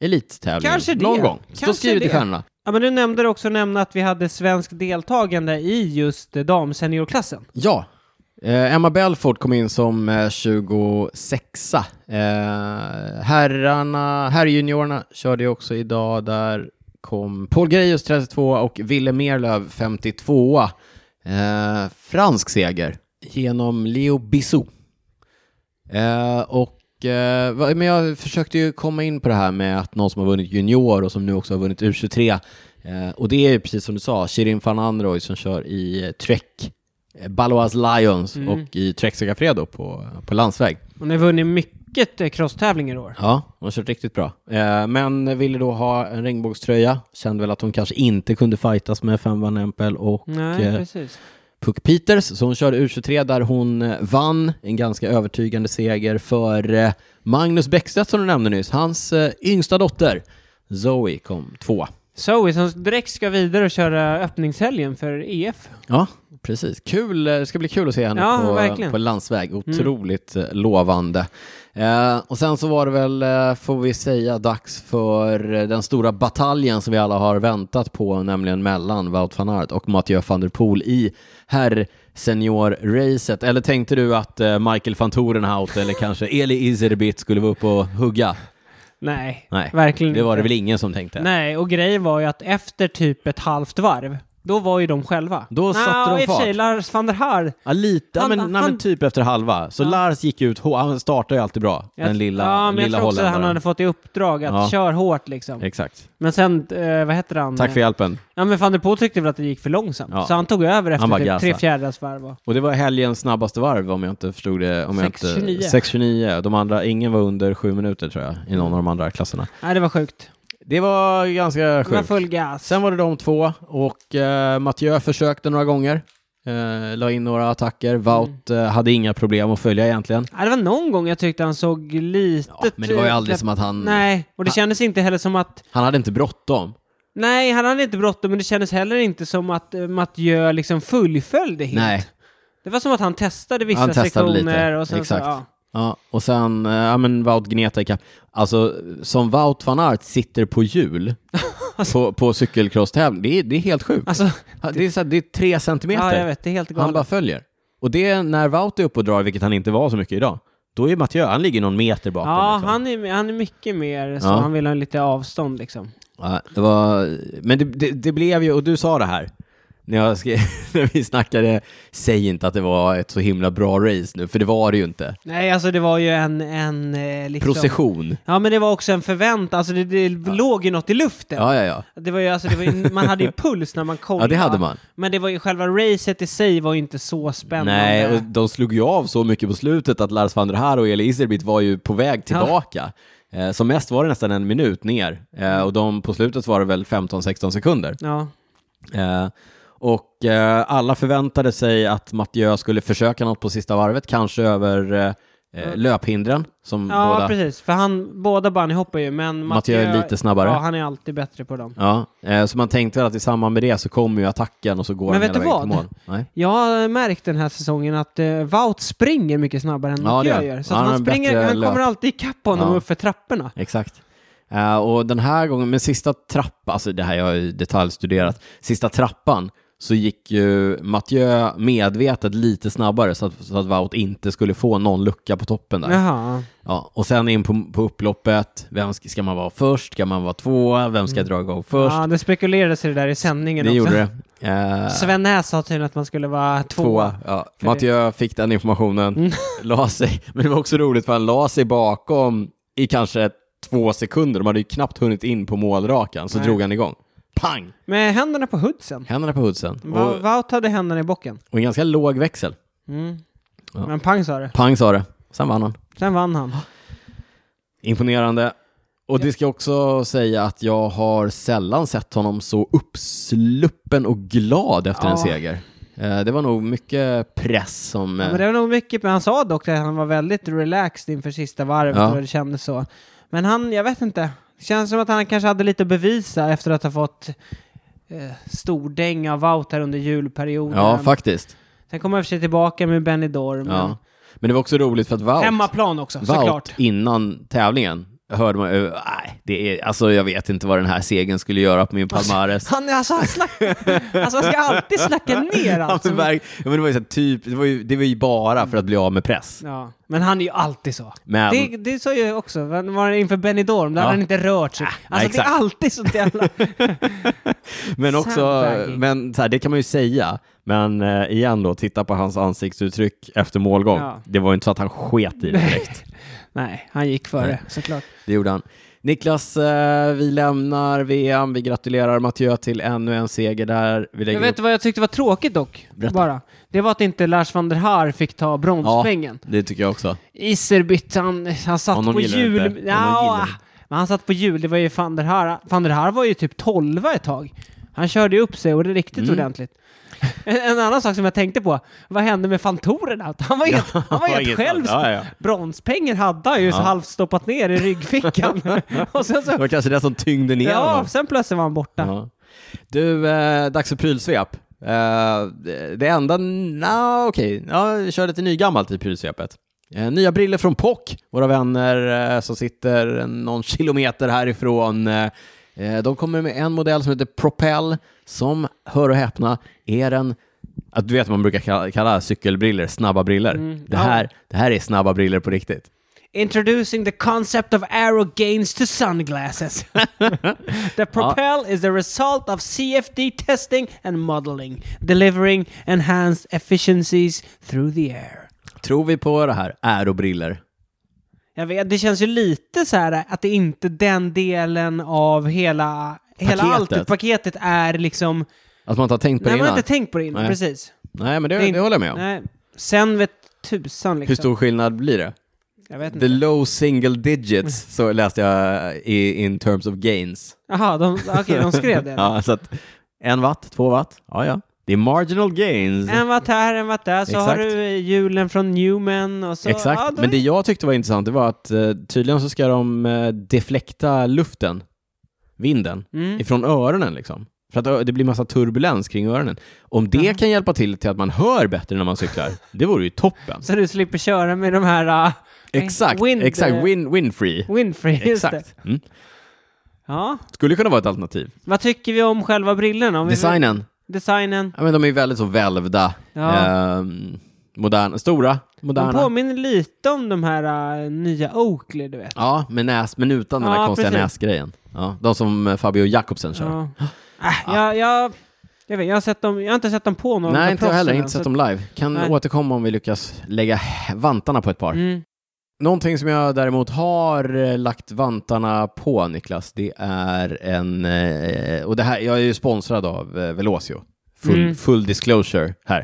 elittävlingen.
Kanske det.
Någon gång. Stå
Kanske
skrivet i
det.
stjärnorna.
Ja, men du nämnde också nämna att vi hade svensk deltagande i just eh, damseniorklassen.
Ja. Eh, Emma Belfort kom in som eh, 26 eh, Herrarna, herrjuniorerna körde ju också idag. Där kom Paul Grejus 32 och Ville Merlöv 52 eh, Fransk seger genom Leo Bissou. Eh, och, eh, va- men jag försökte ju komma in på det här med att någon som har vunnit junior och som nu också har vunnit U23. Eh, och det är ju precis som du sa, Shirin van Androoy som kör i eh, Trek, eh, Baloas Lions
Mm.
och i Trek Segafredo på, på landsväg.
Hon har vunnit mycket eh, crosstävlingar i år.
Ja, hon har kört riktigt bra. Eh, men ville då ha en regnbågströja, kände väl att hon kanske inte kunde fightas med Fem Van Empel och
Nej,
eh,
precis.
Puck Peters, så hon körde U23 där hon eh, vann en ganska övertygande seger för eh, Magnus Bäckstedt som du nämnde nyss. Hans eh, yngsta dotter Zoe kom två.
Zoe som direkt ska vidare och köra öppningshelgen för E EF.
Ja, precis. Kul, eh, det ska bli kul att se henne
Ja,
på,
verkligen. Mm.
på landsväg. Otroligt eh, lovande. Eh, och sen så var det väl, eh, får vi säga, dags för eh, den stora bataljen som vi alla har väntat på, nämligen mellan Wout van Aert och Mathieu van der Poel i herr seniorracet. Eller tänkte du att eh, Michael van Torenhout eller kanske Eli Izerbit skulle vara uppe och hugga?
Nej,
Nej,
verkligen
Det var det
inte.
väl ingen som tänkte?
Nej, och grejen var ju att efter typ ett halvt varv, då var ju de själva.
Då satte de
i och för sig,
fart.
Lars van der Haar.
Ja, lite, ja,
Han-
men, nej, men
han-
typ efter halva. Så
Ja.
Lars gick ut, hå- han startar ju alltid bra,
Jag-
den lilla,
Ja, men
lilla
jag tror också att han
holländaren.
hade fått i uppdrag att
Ja.
köra hårt liksom.
Exakt.
Men sen, eh, vad heter han?
Tack för hjälpen.
Ja, men van der Poel tyckte väl att det gick för långsamt.
Ja.
Så han tog över
Han bara
efter typ
gasade.
tre fjärdedels varv. va?
Och det var helgens snabbaste varv om jag inte förstod det. Om jag inte-
6.29.
6.29. De andra, ingen var under sju minuter tror jag, i någon av de andra klasserna.
Nej, det var sjukt.
Det var ganska
Det var
sjukt.
full gas.
Sen var det de två och eh, Mathieu försökte några gånger. Eh, la in några attacker.
Mm.
Wout eh, hade inga problem att följa egentligen.
Ja, det var någon gång jag tyckte han såg lite...
Ja, men det var ju aldrig som att han...
typ- Nej, och det kändes inte heller som att...
Han hade inte bråttom.
Nej, han hade inte bråttom, men det kändes heller inte som att eh, Mathieu liksom fullföljde helt.
Nej.
Det var som att han testade vissa
Han testade lite,
sektioner och sen
exakt.
så... Ja.
Ja, och sen, eh, ja men Wout gneta ikapp. Alltså, som Wout van Aert sitter på
*laughs*
hjul på, på cykelcross-tävling, det, är- det är helt sjukt.
Alltså,
Ja, Det är, så här, det är tre centimeter.
ja, jag vet, det är helt
han
galet.
bara följer. Och det är när Wout är uppe och drar, vilket han inte var så mycket idag, då är Mathieu, han ligger någon meter bakom.
ja,
liksom.
han är, han är mycket mer så,
Ja.
han vill ha lite avstånd liksom.
Ja, det var... Men det, det, det blev ju, och du sa det här, när, jag skrev, *laughs* när vi snackade, säg inte att det var ett så himla bra race nu, för det var det ju inte.
Nej, alltså det var ju en... en eh, liksom...
Procession.
Ja, men det var också en förväntan, alltså det, det låg ju något i luften.
Ja, ja, ja.
Det var ju, alltså, det var ju,
*laughs*
man hade ju puls när man kollade.
Ja, det hade man.
Men det var ju själva racet i sig var ju inte så spännande.
Nej, och de slog ju av så mycket på slutet att Lars van der Haar och Eli Iserbit var ju på väg tillbaka. Eh, som mest var det nästan en minut ner eh, och de, på slutet var det väl 15-16 sekunder.
Ja.
Eh, och eh, alla förväntade sig att Mathieu skulle försöka något på sista varvet, kanske över eh, eh, löphindren som
ja,
båda...
precis. För han, båda bunny hoppar ju, men
Mathieu är lite snabbare.
Ja, han är alltid bättre på dem.
Ja, eh, så man tänkte väl att i samband med det så kommer ju attacken och så går
Men
han
vet
hela
du
vägen till
vad?
mål. Nej.
Jag har märkt den här säsongen att eh, Wout springer mycket snabbare än
Ja, det
Mathieu
gör han.
gör. Så
Han
att
har
han,
en
springer,
bättre
han kommer
löp.
alltid ikapp honom
Ja.
uppför trapporna.
Exakt. Eh, och den här gången, men sista trappan, alltså det här jag har ju detaljstuderat, sista trappan så gick ju Mathieu medvetet lite snabbare så att, så att Wout inte skulle få någon lucka på toppen där.
Jaha.
Ja, och sen in på, på upploppet, vem ska, ska man vara först, ska man vara tvåa, vem ska dra igång först?
Ja, det spekulerades i det där i sändningen
det
också.
gjorde det. Eh,
Sven Näs sa tydligen att man skulle vara två. Mm.
Tvåa, ja. Mathieu fick den informationen, *laughs* la sig, men det var också roligt för han la sig bakom i kanske två sekunder, de hade ju knappt hunnit in på målrakan, så
Nej.
drog han igång. Pang!
Med händerna på hoodsen.
Händerna på hoodsen.
Va-
Och,
Wout hade händerna i bocken.
och en ganska låg växel.
Mm.
Ja.
Men pang sa det.
Pang sa det, sen vann han.
Sen vann han.
Imponerande. Och det ska jag också säga att jag har sällan sett honom så uppsluppen och glad efter en
Ja.
seger. Eh, Det var nog mycket press som... eh,
Ja, men det var nog mycket, men han sa dock att han var väldigt relaxed inför sista varvet
Ja.
och det kändes så. Men han, jag vet inte. Det känns som att han kanske hade lite att bevisa efter att ha fått eh, stordäng av Wout här under julperioden.
ja faktiskt.
Sen kom han i och för sig tillbaka med Benidorm.
Ja. Men det var också roligt för att Wout,
Hemmaplan också,
Wout
såklart.
innan tävlingen hörde man ju, nej, det är, alltså jag vet inte vad den här segern skulle göra
*laughs*
på min Palmares.
Han, är- alltså,
*laughs*
han, slack, alltså, han ska alltid slacka ner alltså.
Ja,
allt.
men
som-
verk- ja, men det var ju så här, typ, det var ju, det var ju bara för att bli av med press.
Ja, men han är ju alltid så.
Men-
Det, det sa jag också, Men var det inför Benidorm, där
Ja. Äh,
hade han inte rört sig. Alltså det
exakt.
är alltid sånt jävla...
Men också,
Sandbagging.
men så här, det kan man ju säga, men eh, igen då, titta på hans ansiktsuttryck efter målgång.
Ja.
Det var ju inte så att han sket i det direkt.
Nej, han gick före
Nej.
såklart.
det gjorde han. Niklas, eh, vi lämnar VM. Vi gratulerar Mathieu till ännu en seger där. Vi lägger
Jag vet
upp...
inte vad jag tyckte var tråkigt dock,
Berätta.
bara. Det var att inte Lars van der Haar fick ta bronspengen.
Det tycker jag också.
Iserbytt, han, han satt
Honom
på
gillar du inte.
jul.
Honom
Ja,
gillar du.
men han satt på jul, det var ju van der Haar. Van der Haar var ju typ 12 ett tag. Han körde ju upp sig och det är riktigt
Mm.
ordentligt. En, en annan sak som jag tänkte på, vad hände med Fantorerna? Han var helt, han var helt
inget-
själv.
ja, ja.
Bronspengar hade han ju så
Ja.
halvt stoppat ner i
*laughs*
ryggfickan. *laughs* och sen
Det
så,
var kanske det som tyngde ner
ja,
honom.
sen plötsligt var han borta.
Ja. Du, eh, dags för prylsvep. Eh, det- det enda, na okej, ja, vi kör lite nygammalt i prylsvepet. Eh, nya briller från POC, våra vänner eh, som sitter någon kilometer härifrån. Eh, eh, de kommer med en modell som heter Propel, som, hör och häpna, är en att du vet man brukar kalla, kalla cykelbriller snabba briller.
Mm,
det,
ja.
här, det här är snabba briller på riktigt.
Introducing the concept of arrow gains to sunglasses. *laughs* the Propel is the result of CFD testing and modeling, delivering enhanced efficiencies through the air.
Tror vi på det här? Ärobriller.
Jag vet, det känns ju lite så här att det inte den delen av hela, hela
Paketet.
allt paketet är liksom...
Att man inte har tänkt på
Nej,
det
man har
innan.
inte tänkt på det innan,
Nej.
precis.
Nej, men det,
Det är
det,
inte-
håller jag med om.
Nej, sen vet tusan liksom.
Hur stor skillnad blir det?
Jag vet
The
inte.
low single
Mm.
digits, så läste jag i in terms of gains.
Jaha, de, okej, de skrev det.
*laughs* Ja, så att en watt, två watt, ja ja. Det är marginal gains.
En watt här, en watt där, så har
Exakt.
du eh, hjulen från Newman och så...
Exakt,
ja, då-
men det jag tyckte var intressant det var att eh, tydligen så ska de eh, deflekta luften, vinden,
Mm.
ifrån öronen liksom. För att ö- det blir massa turbulens kring öronen. Om det kan hjälpa till till att man hör bättre när man cyklar, det vore ju toppen.
Så du slipper köra med de här... Uh,
Exakt,
Wind,
exakt,
eh,
win, win free.
Winfrey, just det.
Exakt. Mm.
Ja.
Skulle kunna vara ett alternativ.
Vad tycker vi om själva brillorna? Om vi-
Designen.
Designen.
Ja, men de är ju väldigt så välvda.
Ja.
Ehm, moderna, stora,
De
moderna.
påminner lite om de här eh, nya Oakley, du vet.
Ja, med näs, men utan den
Ja,
här konstiga
precis.
näsgrejen. Ja, de som eh, Fabio Jakobsen kör.
Ja. Äh, jag, jag, jag, vet, jag, har sett dem, jag har inte sett dem på någon
Nej,
med
inte jag heller.
proffsen
Inte
än,
sett
så-
dem live. Kan
Nej.
återkomma om vi lyckas lägga vantarna på ett par.
Mm.
Någonting som jag däremot har eh, lagt vantarna på, Niklas, det är en... eh, Och det här, jag är ju sponsrad av eh, Velocio. Full,
Mm.
full disclosure här.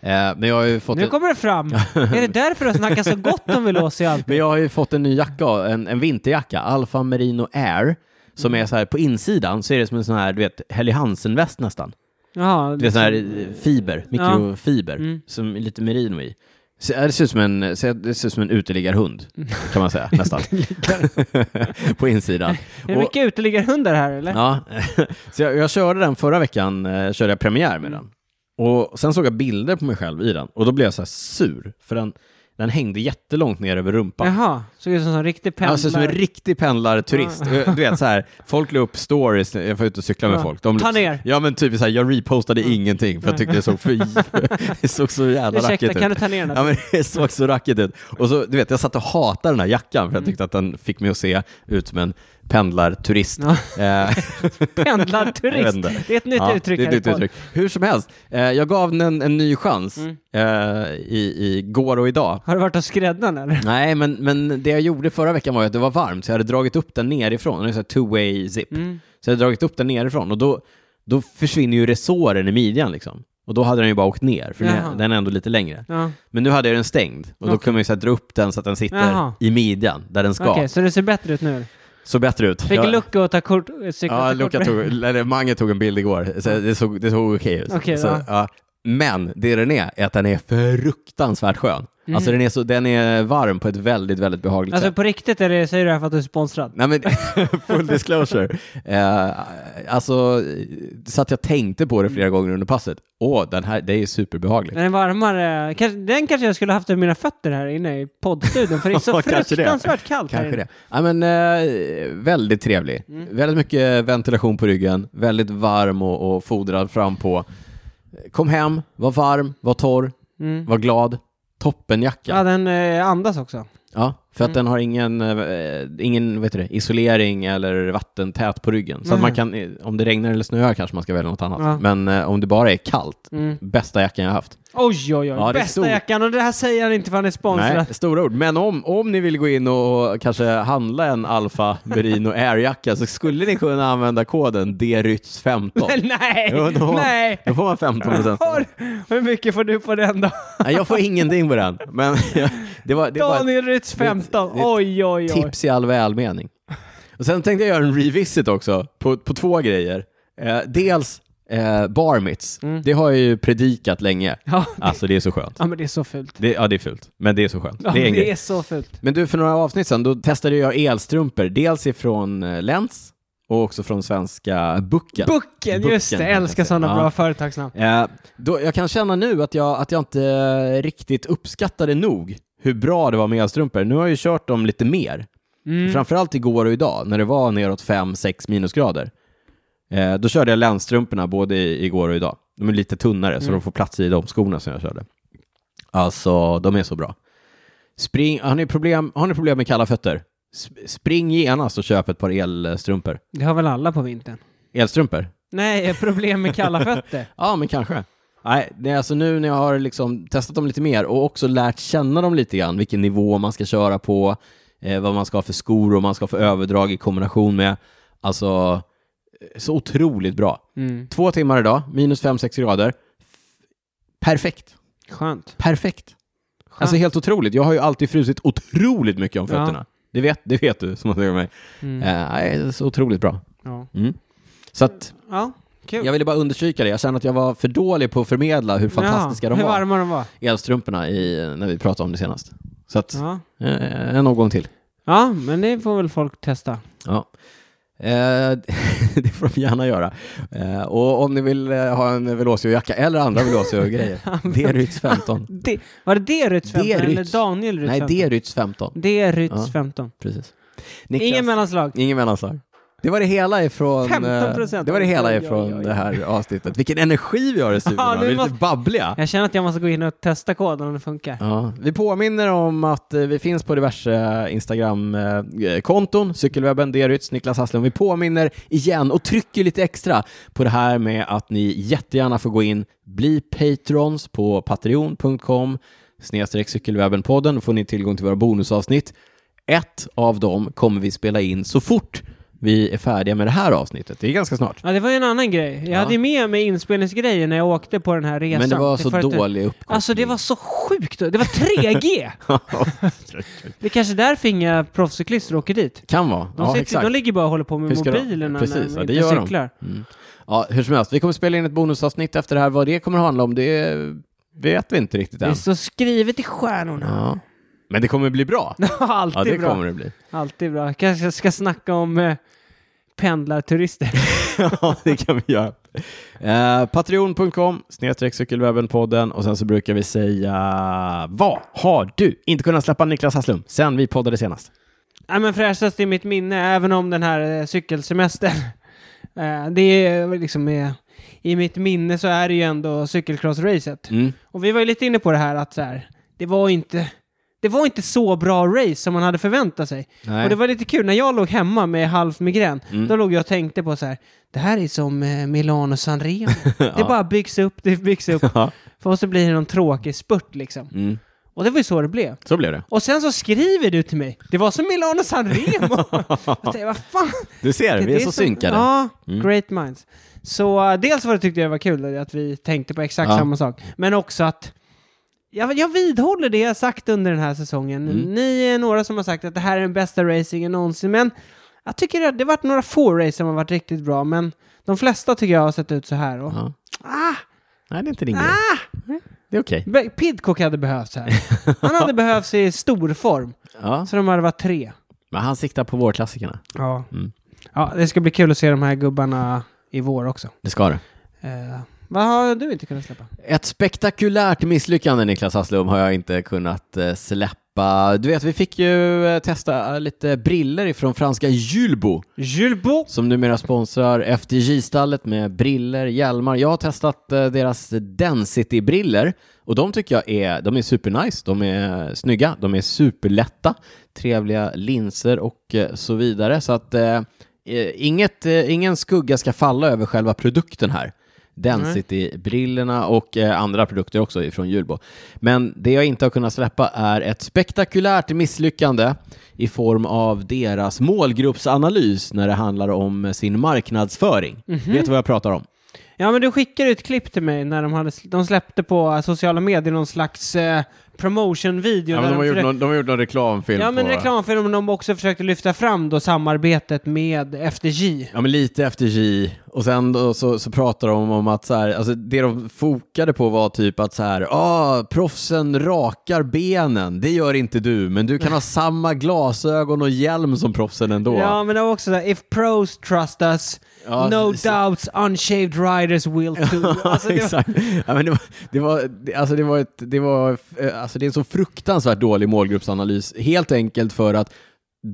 Eh, Men jag har ju fått...
Nu
en-
kommer det fram. är det därför du snackar så gott om
*laughs*
Velocio alltid?
Men jag har ju fått en ny jacka, en, en vinterjacka, Alfa Merino Air, som är så här på insidan så är det som en sån här, du vet, Helly Hansen-väst nästan.
Jaha,
Det är sån här
liksom-
eh, fiber, mikrofiber,
Mm.
som är lite merino i. Så, ja, det, ser ut som en, så, eh, det ser ut som en uteliggarhund, kan man säga, nästan. *laughs* på insidan.
Är det
Och-
mycket uteliggarhundar här eller?
Ja, *laughs* så jag, jag körde den förra veckan, eh, körde jag premiär med den. Och sen såg jag bilder på mig själv i den och då blev jag så här sur, för den, den hängde jättelångt ner över rumpan.
Jaha, såg ut som en riktig pendlare.
Han ser ut som en riktig pendlarturist. Du vet så här, folk la upp stories, när jag var ute och cykla med
Ja.
folk. De la
Ta
upp-
ner.
Ja men typ så här, jag repostade ingenting för jag tyckte det såg för, *laughs* det såg så jävla
Ursäkta,
rackigt
kan du
ut.
ta ner den?
Ja men det såg så rackigt ut. Och så, du vet, jag satt och hatade den här jackan
Mm.
för jag tyckte att den fick mig att se ut som en pendlarturist.
Ja. *laughs*
Eh, *laughs* Jag vet
Pendlarturist.
inte.
Det är ett nytt
ja,
uttryck
det är
här i
ett nytt
podden.
uttryck. Hur som helst, eh, jag gav den en, en ny chans
Mm.
eh, i, i går och idag.
Har du varit hos skräddaren eller?
Nej, men, men det jag gjorde förra veckan var ju att det var varmt, så jag hade dragit upp den nerifrån. Det är så här two-way zip.
Mm.
Så jag hade dragit upp den nerifrån och då, då försvinner ju resåren i midjan liksom. Och då hade den ju bara åkt ner, för
Jaha.
den, den är ändå lite längre.
Ja.
Men nu hade jag den stängd och då
Okej.
kunde man ju så här dra upp den så att den sitter
Jaha.
i midjan, där den ska.
Okej, så det ser bättre ut nu?
Så bättre ut.
Fick
Jag-
Luca att ta kort?
Ja,
cykla till
Luca
kort-
tog, eller Mange tog en bild igår, så det såg, det såg okej ut.
Okej,
så,
ja.
ja. Men det den är, är att den är fruktansvärt skön. Alltså den är, så, den är varm på ett väldigt, väldigt behagligt
Mm. Alltså
sätt.
på riktigt, är det, säger du det här för att du är sponsrad?
Nej men, *laughs* full disclosure. Eh, alltså, så att jag tänkte på det flera
Mm.
gånger under passet. Åh, den här, det är superbehagligt.
Den är varmare. Kanske, den kanske jag skulle haft i mina fötter här inne i poddstudion, för det är
*laughs*
så
Ja, kanske det.
fruktansvärt kallt här
Kanske
inne.
det. Ja, men, eh, väldigt trevlig.
Mm.
Väldigt mycket ventilation på ryggen, väldigt varm och, och fodrad fram på. Kom hem, var varm, var torr,
Mm.
var glad. Toppenjacka.
Ja, Mm. den eh, andas också.
Ja, för att den har ingen, eh, ingen vad heter det, isolering eller vattentät på ryggen. Så att
Nej.
man kan, eh, om det regnar eller snöar kanske man ska välja något annat.
Ja.
Men eh, om det bara är kallt,
Mm.
bästa jackan jag har haft.
Oj, oj, oj.
Ja, det är
Bästa
stor-
jackan. Och det här säger han inte för han är sponsrad.
Nej, stora ord. Men om, om ni vill gå in och och kanske handla en Alfa Merino Air-jacka så skulle ni kunna använda koden DRYTS15.
*laughs* Nej!
*laughs* Jo, då,
Nej!
då får man 15 procent.
Har, hur mycket får du på den då?
Nej, jag får ingenting på den. Men *laughs* det var, det var ett
Daniel Rytz
det är ett-
15.
det är ett
Oj, oj, oj.
tips i all välmening. Och sen tänkte jag göra en revisit också på, på två grejer. Eh, dels eh, bar mitts.
Mm.
Det har jag ju predikat länge.
Ja,
Alltså det är så skönt.
ja, men det är så fult.
Det, ja, det är fult. Men det är så skönt.
Ja,
det är en grej.
det är så fult.
Men du, för några avsnitt sedan, då testade jag elstrumpor, dels ifrån eh, Lens och också från svenska Bucken.
Bucken, just det.
Bucken,
Jag älskar
kan jag
sådana
säga. Ja.
bra företagsnamn.
Eh, då, jag kan känna nu att jag, att jag inte eh, riktigt uppskattade nog hur bra det var med elstrumpor. Nu har jag ju kört dem lite mer,
Mm.
framförallt igår och idag när det var neråt 5-6 minusgrader. Eh, då körde jag länsstrumporna både i, igår och idag. De är lite tunnare så de får plats i de skorna som jag körde. Alltså, de är så bra. Spring, har, ni problem, har ni problem med kalla fötter? Sp- spring genast och köp ett par elstrumpor.
Det har väl alla på vintern?
Elstrumpor?
Nej, *laughs* problem med kalla fötter.
Ja, men kanske. Nej, det är alltså nu när jag har liksom testat dem lite mer och också lärt känna dem lite grann, vilken nivå man ska köra på, eh, vad man ska ha för skor och vad man ska ha för överdrag i kombination med. Alltså, eh, så otroligt bra.
Mm.
Två timmar idag, minus 5-6 grader. F- Perfekt.
Skönt.
Perfekt. Alltså helt otroligt. Jag har ju alltid frusit otroligt mycket om
Ja.
fötterna. Det, vet, det vet du som har sett mig.
Mm.
Eh, nej, det är så otroligt bra.
Ja,
Mm. Så att,
ja kul.
jag ville bara understryka det. Jag känner att jag var för dålig på att förmedla hur fantastiska de
Hur
var.
varma de var.
elstrumporna i, när vi pratade om det senast. Så att,
Ja.
eh, en omgång till.
ja, men det får väl folk testa.
Ja. Eh, *laughs* det får de gärna göra. Eh, och om ni vill eh, ha en Velocio-jacka eller andra
*laughs*
Velocio-grejer, det är Rytz 15.
Det, var det det Rytz 15
Det
eller
Rytz.
Daniel Rytz
Nej,
15?
det är Rytz 15.
det är Rytz
Ja.
15.
Precis.
Ingen
Niklas,
mellanslag.
ingen mellanslag. Det var det hela ifrån, eh,
15%.
det, var det, hela
Oj, oj,
ifrån
oj.
det här avsnittet. Vilken energi vi har i studion. va?
Ja, nu
vi är lite
måste-
babbliga.
Jag känner att jag måste gå in och testa koden om det funkar.
Ja, vi påminner om att eh, vi finns på diverse eh, Instagram-konton, eh, cykelwebben, Derytz, Niklas Hasslund. Vi påminner igen och trycker lite extra på det här med att ni jättegärna får gå in, bli patrons på patreon.com snedstreck cykelwebbenpodden. Då får ni tillgång till våra bonusavsnitt. Ett av dem kommer vi spela in så fort vi är färdiga med det här avsnittet. Det är ganska snart.
Ja, det var ju en annan grej. Jag
Ja.
hade ju med mig inspelningsgrejer när jag åkte på den här resan.
Men det var så
för att-
dålig uppkoppling.
Alltså det var så sjukt. Det var 3G! det är kanske är därför inga proffscyklister åker dit.
*laughs* Kan vara.
De,
ja,
sitter,
exakt.
de ligger bara och håller på med
Hur ska de-
mobilerna
Precis, ja,
när de
det
inte
gör de.
cyklar.
Mm. Ja, hur som helst, vi kommer spela in ett bonusavsnitt efter det här. Vad det kommer handla om, det vet vi inte riktigt
Det är
än.
så skrivet i stjärnorna.
Ja. Men det kommer bli bra.
*laughs* Alltid
Ja, det
bra.
kommer det bli.
Alltid bra. Kanske ska snacka om eh, pendlarturister.
*laughs* ja, det kan vi göra. Eh, Patreon.com snedstreck cykelwebbenpodden och sen så brukar vi säga vad har du inte kunnat släppa Niklas Hasslum sen vi poddade senast?
Nej, men fräschast i mitt minne, även om den här eh, cykelsemestern. *laughs* Eh, det är liksom eh, i mitt minne så är det ju ändå cykelcross-racet.
Mm.
Och vi var ju lite inne på det här att så här, det var inte det var inte så bra race som man hade förväntat sig.
Nej. Mm.
Och det var lite kul, när jag låg hemma med halv migrän, då låg jag och tänkte på så här, det här är som eh,
*laughs*
Milano Sanremo. Det bara byggs upp, det byggs upp.
Ja.
För oss så blir det någon tråkig spurt liksom.
Mm.
Och det var ju så det blev.
Så blev det.
Och sen så skriver du till mig, det var som Milano Sanremo. jag tänkte, vad fan.
Du ser, vi är
Det
så
som-
synkade.
Ja, great minds. Så eh, dels var det tyckte jag var kul att vi tänkte på exakt
Ja.
samma sak, men också att jag, jag vidhåller det jag sagt under den här säsongen. Ni är några som har sagt att det här är den bästa racingen någonsin, men jag tycker att det har varit några få race som har varit riktigt bra, men de flesta tycker jag har sett ut så här. Och,
Ja.
ah,
Nej, det är inte din grej. Det är okej.
Be- Pidcock hade behövts här. Han hade behövts i stor form.
Ja.
Så de hade varit tre.
Men han siktar på vårklassikerna.
Ja.
Mm.
ja, det ska bli kul att se de här gubbarna i vår också.
Det ska du.
Eh, vad har du inte kunnat släppa?
Ett spektakulärt misslyckande, Niklas Hasslum, har jag inte kunnat eh, släppa. Du vet, vi fick ju eh, testa eh, lite briller ifrån franska Julbo.
Julbo!
som numera sponsrar FDJ-stallet med briller, hjälmar. Jag har testat eh, deras Density-briller och de tycker jag är, de är supernice, de är eh, snygga, de är superlätta, trevliga linser och eh, så vidare. Så att eh, eh, inget, eh, ingen skugga ska falla över själva produkten här. Density-brillorna och eh, andra produkter också ifrån Julbo. Men det jag inte har kunnat släppa är ett spektakulärt misslyckande i form av deras målgruppsanalys när det handlar om sin marknadsföring.
Mhm.
Vet du vad jag pratar om?
Ja, men du skickade ett klipp till mig när de, hade, sl- de släppte på eh, sociala medier någon slags eh, promotion-video. där försökte-
de har gjort någon reklamfilm.
Ja, men reklamfilm de också försökte lyfta fram då samarbetet med FDJ.
Ja, men lite FDJ. Och sen då, så, så pratar de om att så här, alltså det de fokade på var typ att så här, ah, proffsen rakar benen, det gör inte du, men du kan ha samma glasögon och hjälm som proffsen ändå.
Ja, men det var också såhär, if pros trust us,
Ja,
no
så-
doubts unshaved
*laughs*
riders will too. Alltså, det var-
Exakt. Ja, men det var, det var, det- alltså det var, ett, det var, eh, alltså det är en så fruktansvärt dålig målgruppsanalys, helt enkelt för att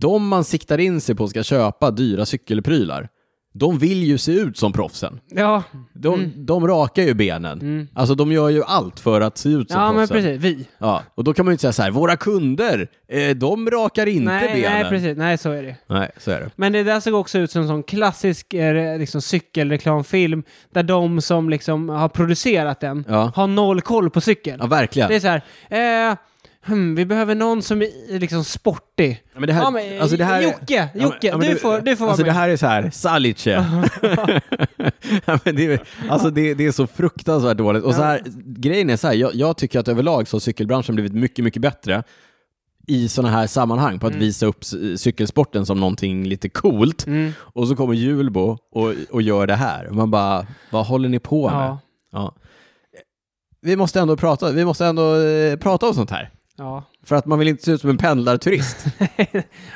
de man siktar in sig på ska köpa dyra cykelprylar, de vill ju se ut som proffsen.
ja,
De,
Mm.
de rakar ju benen. Alltså de gör ju allt för att se ut som
ja men
proffsen.
precis, vi.
Ja, och då kan man ju inte säga så här, våra kunder, eh, de rakar inte
Nej,
benen.
nej, precis. Nej, så är det.
Nej, så är det.
Men det där såg också ut som en sån klassisk eh, re- liksom, cykelreklamfilm där de som liksom har producerat den
Ja.
har noll koll på cykel.
Ja, verkligen.
Det är så här, eh, hmm, vi behöver någon som är liksom sportig.
Ja, men det här,
Ja, men,
alltså det här,
Jocke, Jocke, du får- du får vara
alltså
med.
det här är så här, Salice. *laughs* ja, men det, är- alltså det, det är så fruktansvärt dåligt. Och så här, grejen är så här, jag, jag tycker att överlag så har cykelbranschen blivit mycket, mycket bättre i sådana här sammanhang på att
Mm.
visa upp c- cykelsporten som någonting lite coolt.
Mm.
Och så kommer Julbo och, och gör det här. Och Man bara, vad håller ni på med?
Ja.
Ja. Vi måste ändå prata, vi måste ändå eh, prata om sånt här.
Ja.
För att man vill inte se ut som en pendlarturist.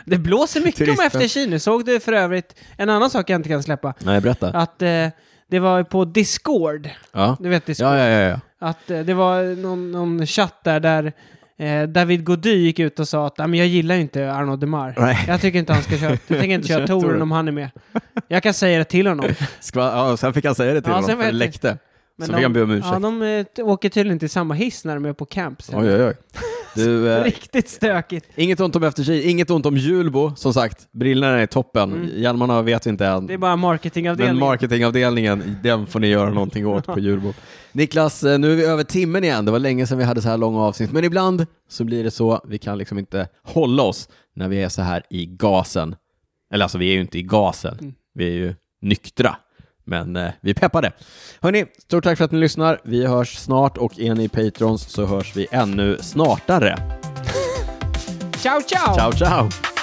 Det blåser mycket om
Turisten.
efter nu Såg du för övrigt en annan sak jag inte kan släppa?
Nej, berätta.
Att eh, det var på Discord.
Ja.
Du vet Discord.
Ja, ja, ja, ja.
Att eh, det var någon, någon chatt där, där eh, David Gody gick ut och sa att "Ja, men jag gillar ju inte Arnaud Demar.
Nej.
Jag tycker inte han ska köra. Jag
*laughs*
tänker inte köra
Kör touren.
touren om han är med. Jag kan säga det till honom.
Skva- ja, sen fick han säga det till
Ja,
honom,
sen
för det
vet-
läckte. så fick han be om ursäkt.
Ja, de eh, t- åker tydligen till samma hiss när de är på camp. sen.
Oj,
*laughs*
oj, oj. Du, eh,
Riktigt stökigt.
inget ont om FTG, inget ont om Julbo, som sagt. Brillorna är toppen, hjälmarna vet vi inte än.
Mm. Det är bara
Men
marketingavdelningen.
marketingavdelningen, den får ni göra någonting åt på Julbo. Niklas, eh, nu är vi över timmen igen. Det var länge sedan vi hade så här långa avsnitt, men ibland så blir det så. Vi kan liksom inte hålla oss när vi är så här i gasen. Eller alltså, vi är ju inte i gasen. Vi är ju nyktra, men eh, vi är peppade. Hörni, stort tack för att ni lyssnar. Vi hörs snart och är ni patrons så hörs vi ännu snartare.
ciao! ciao.
Ciao, ciao!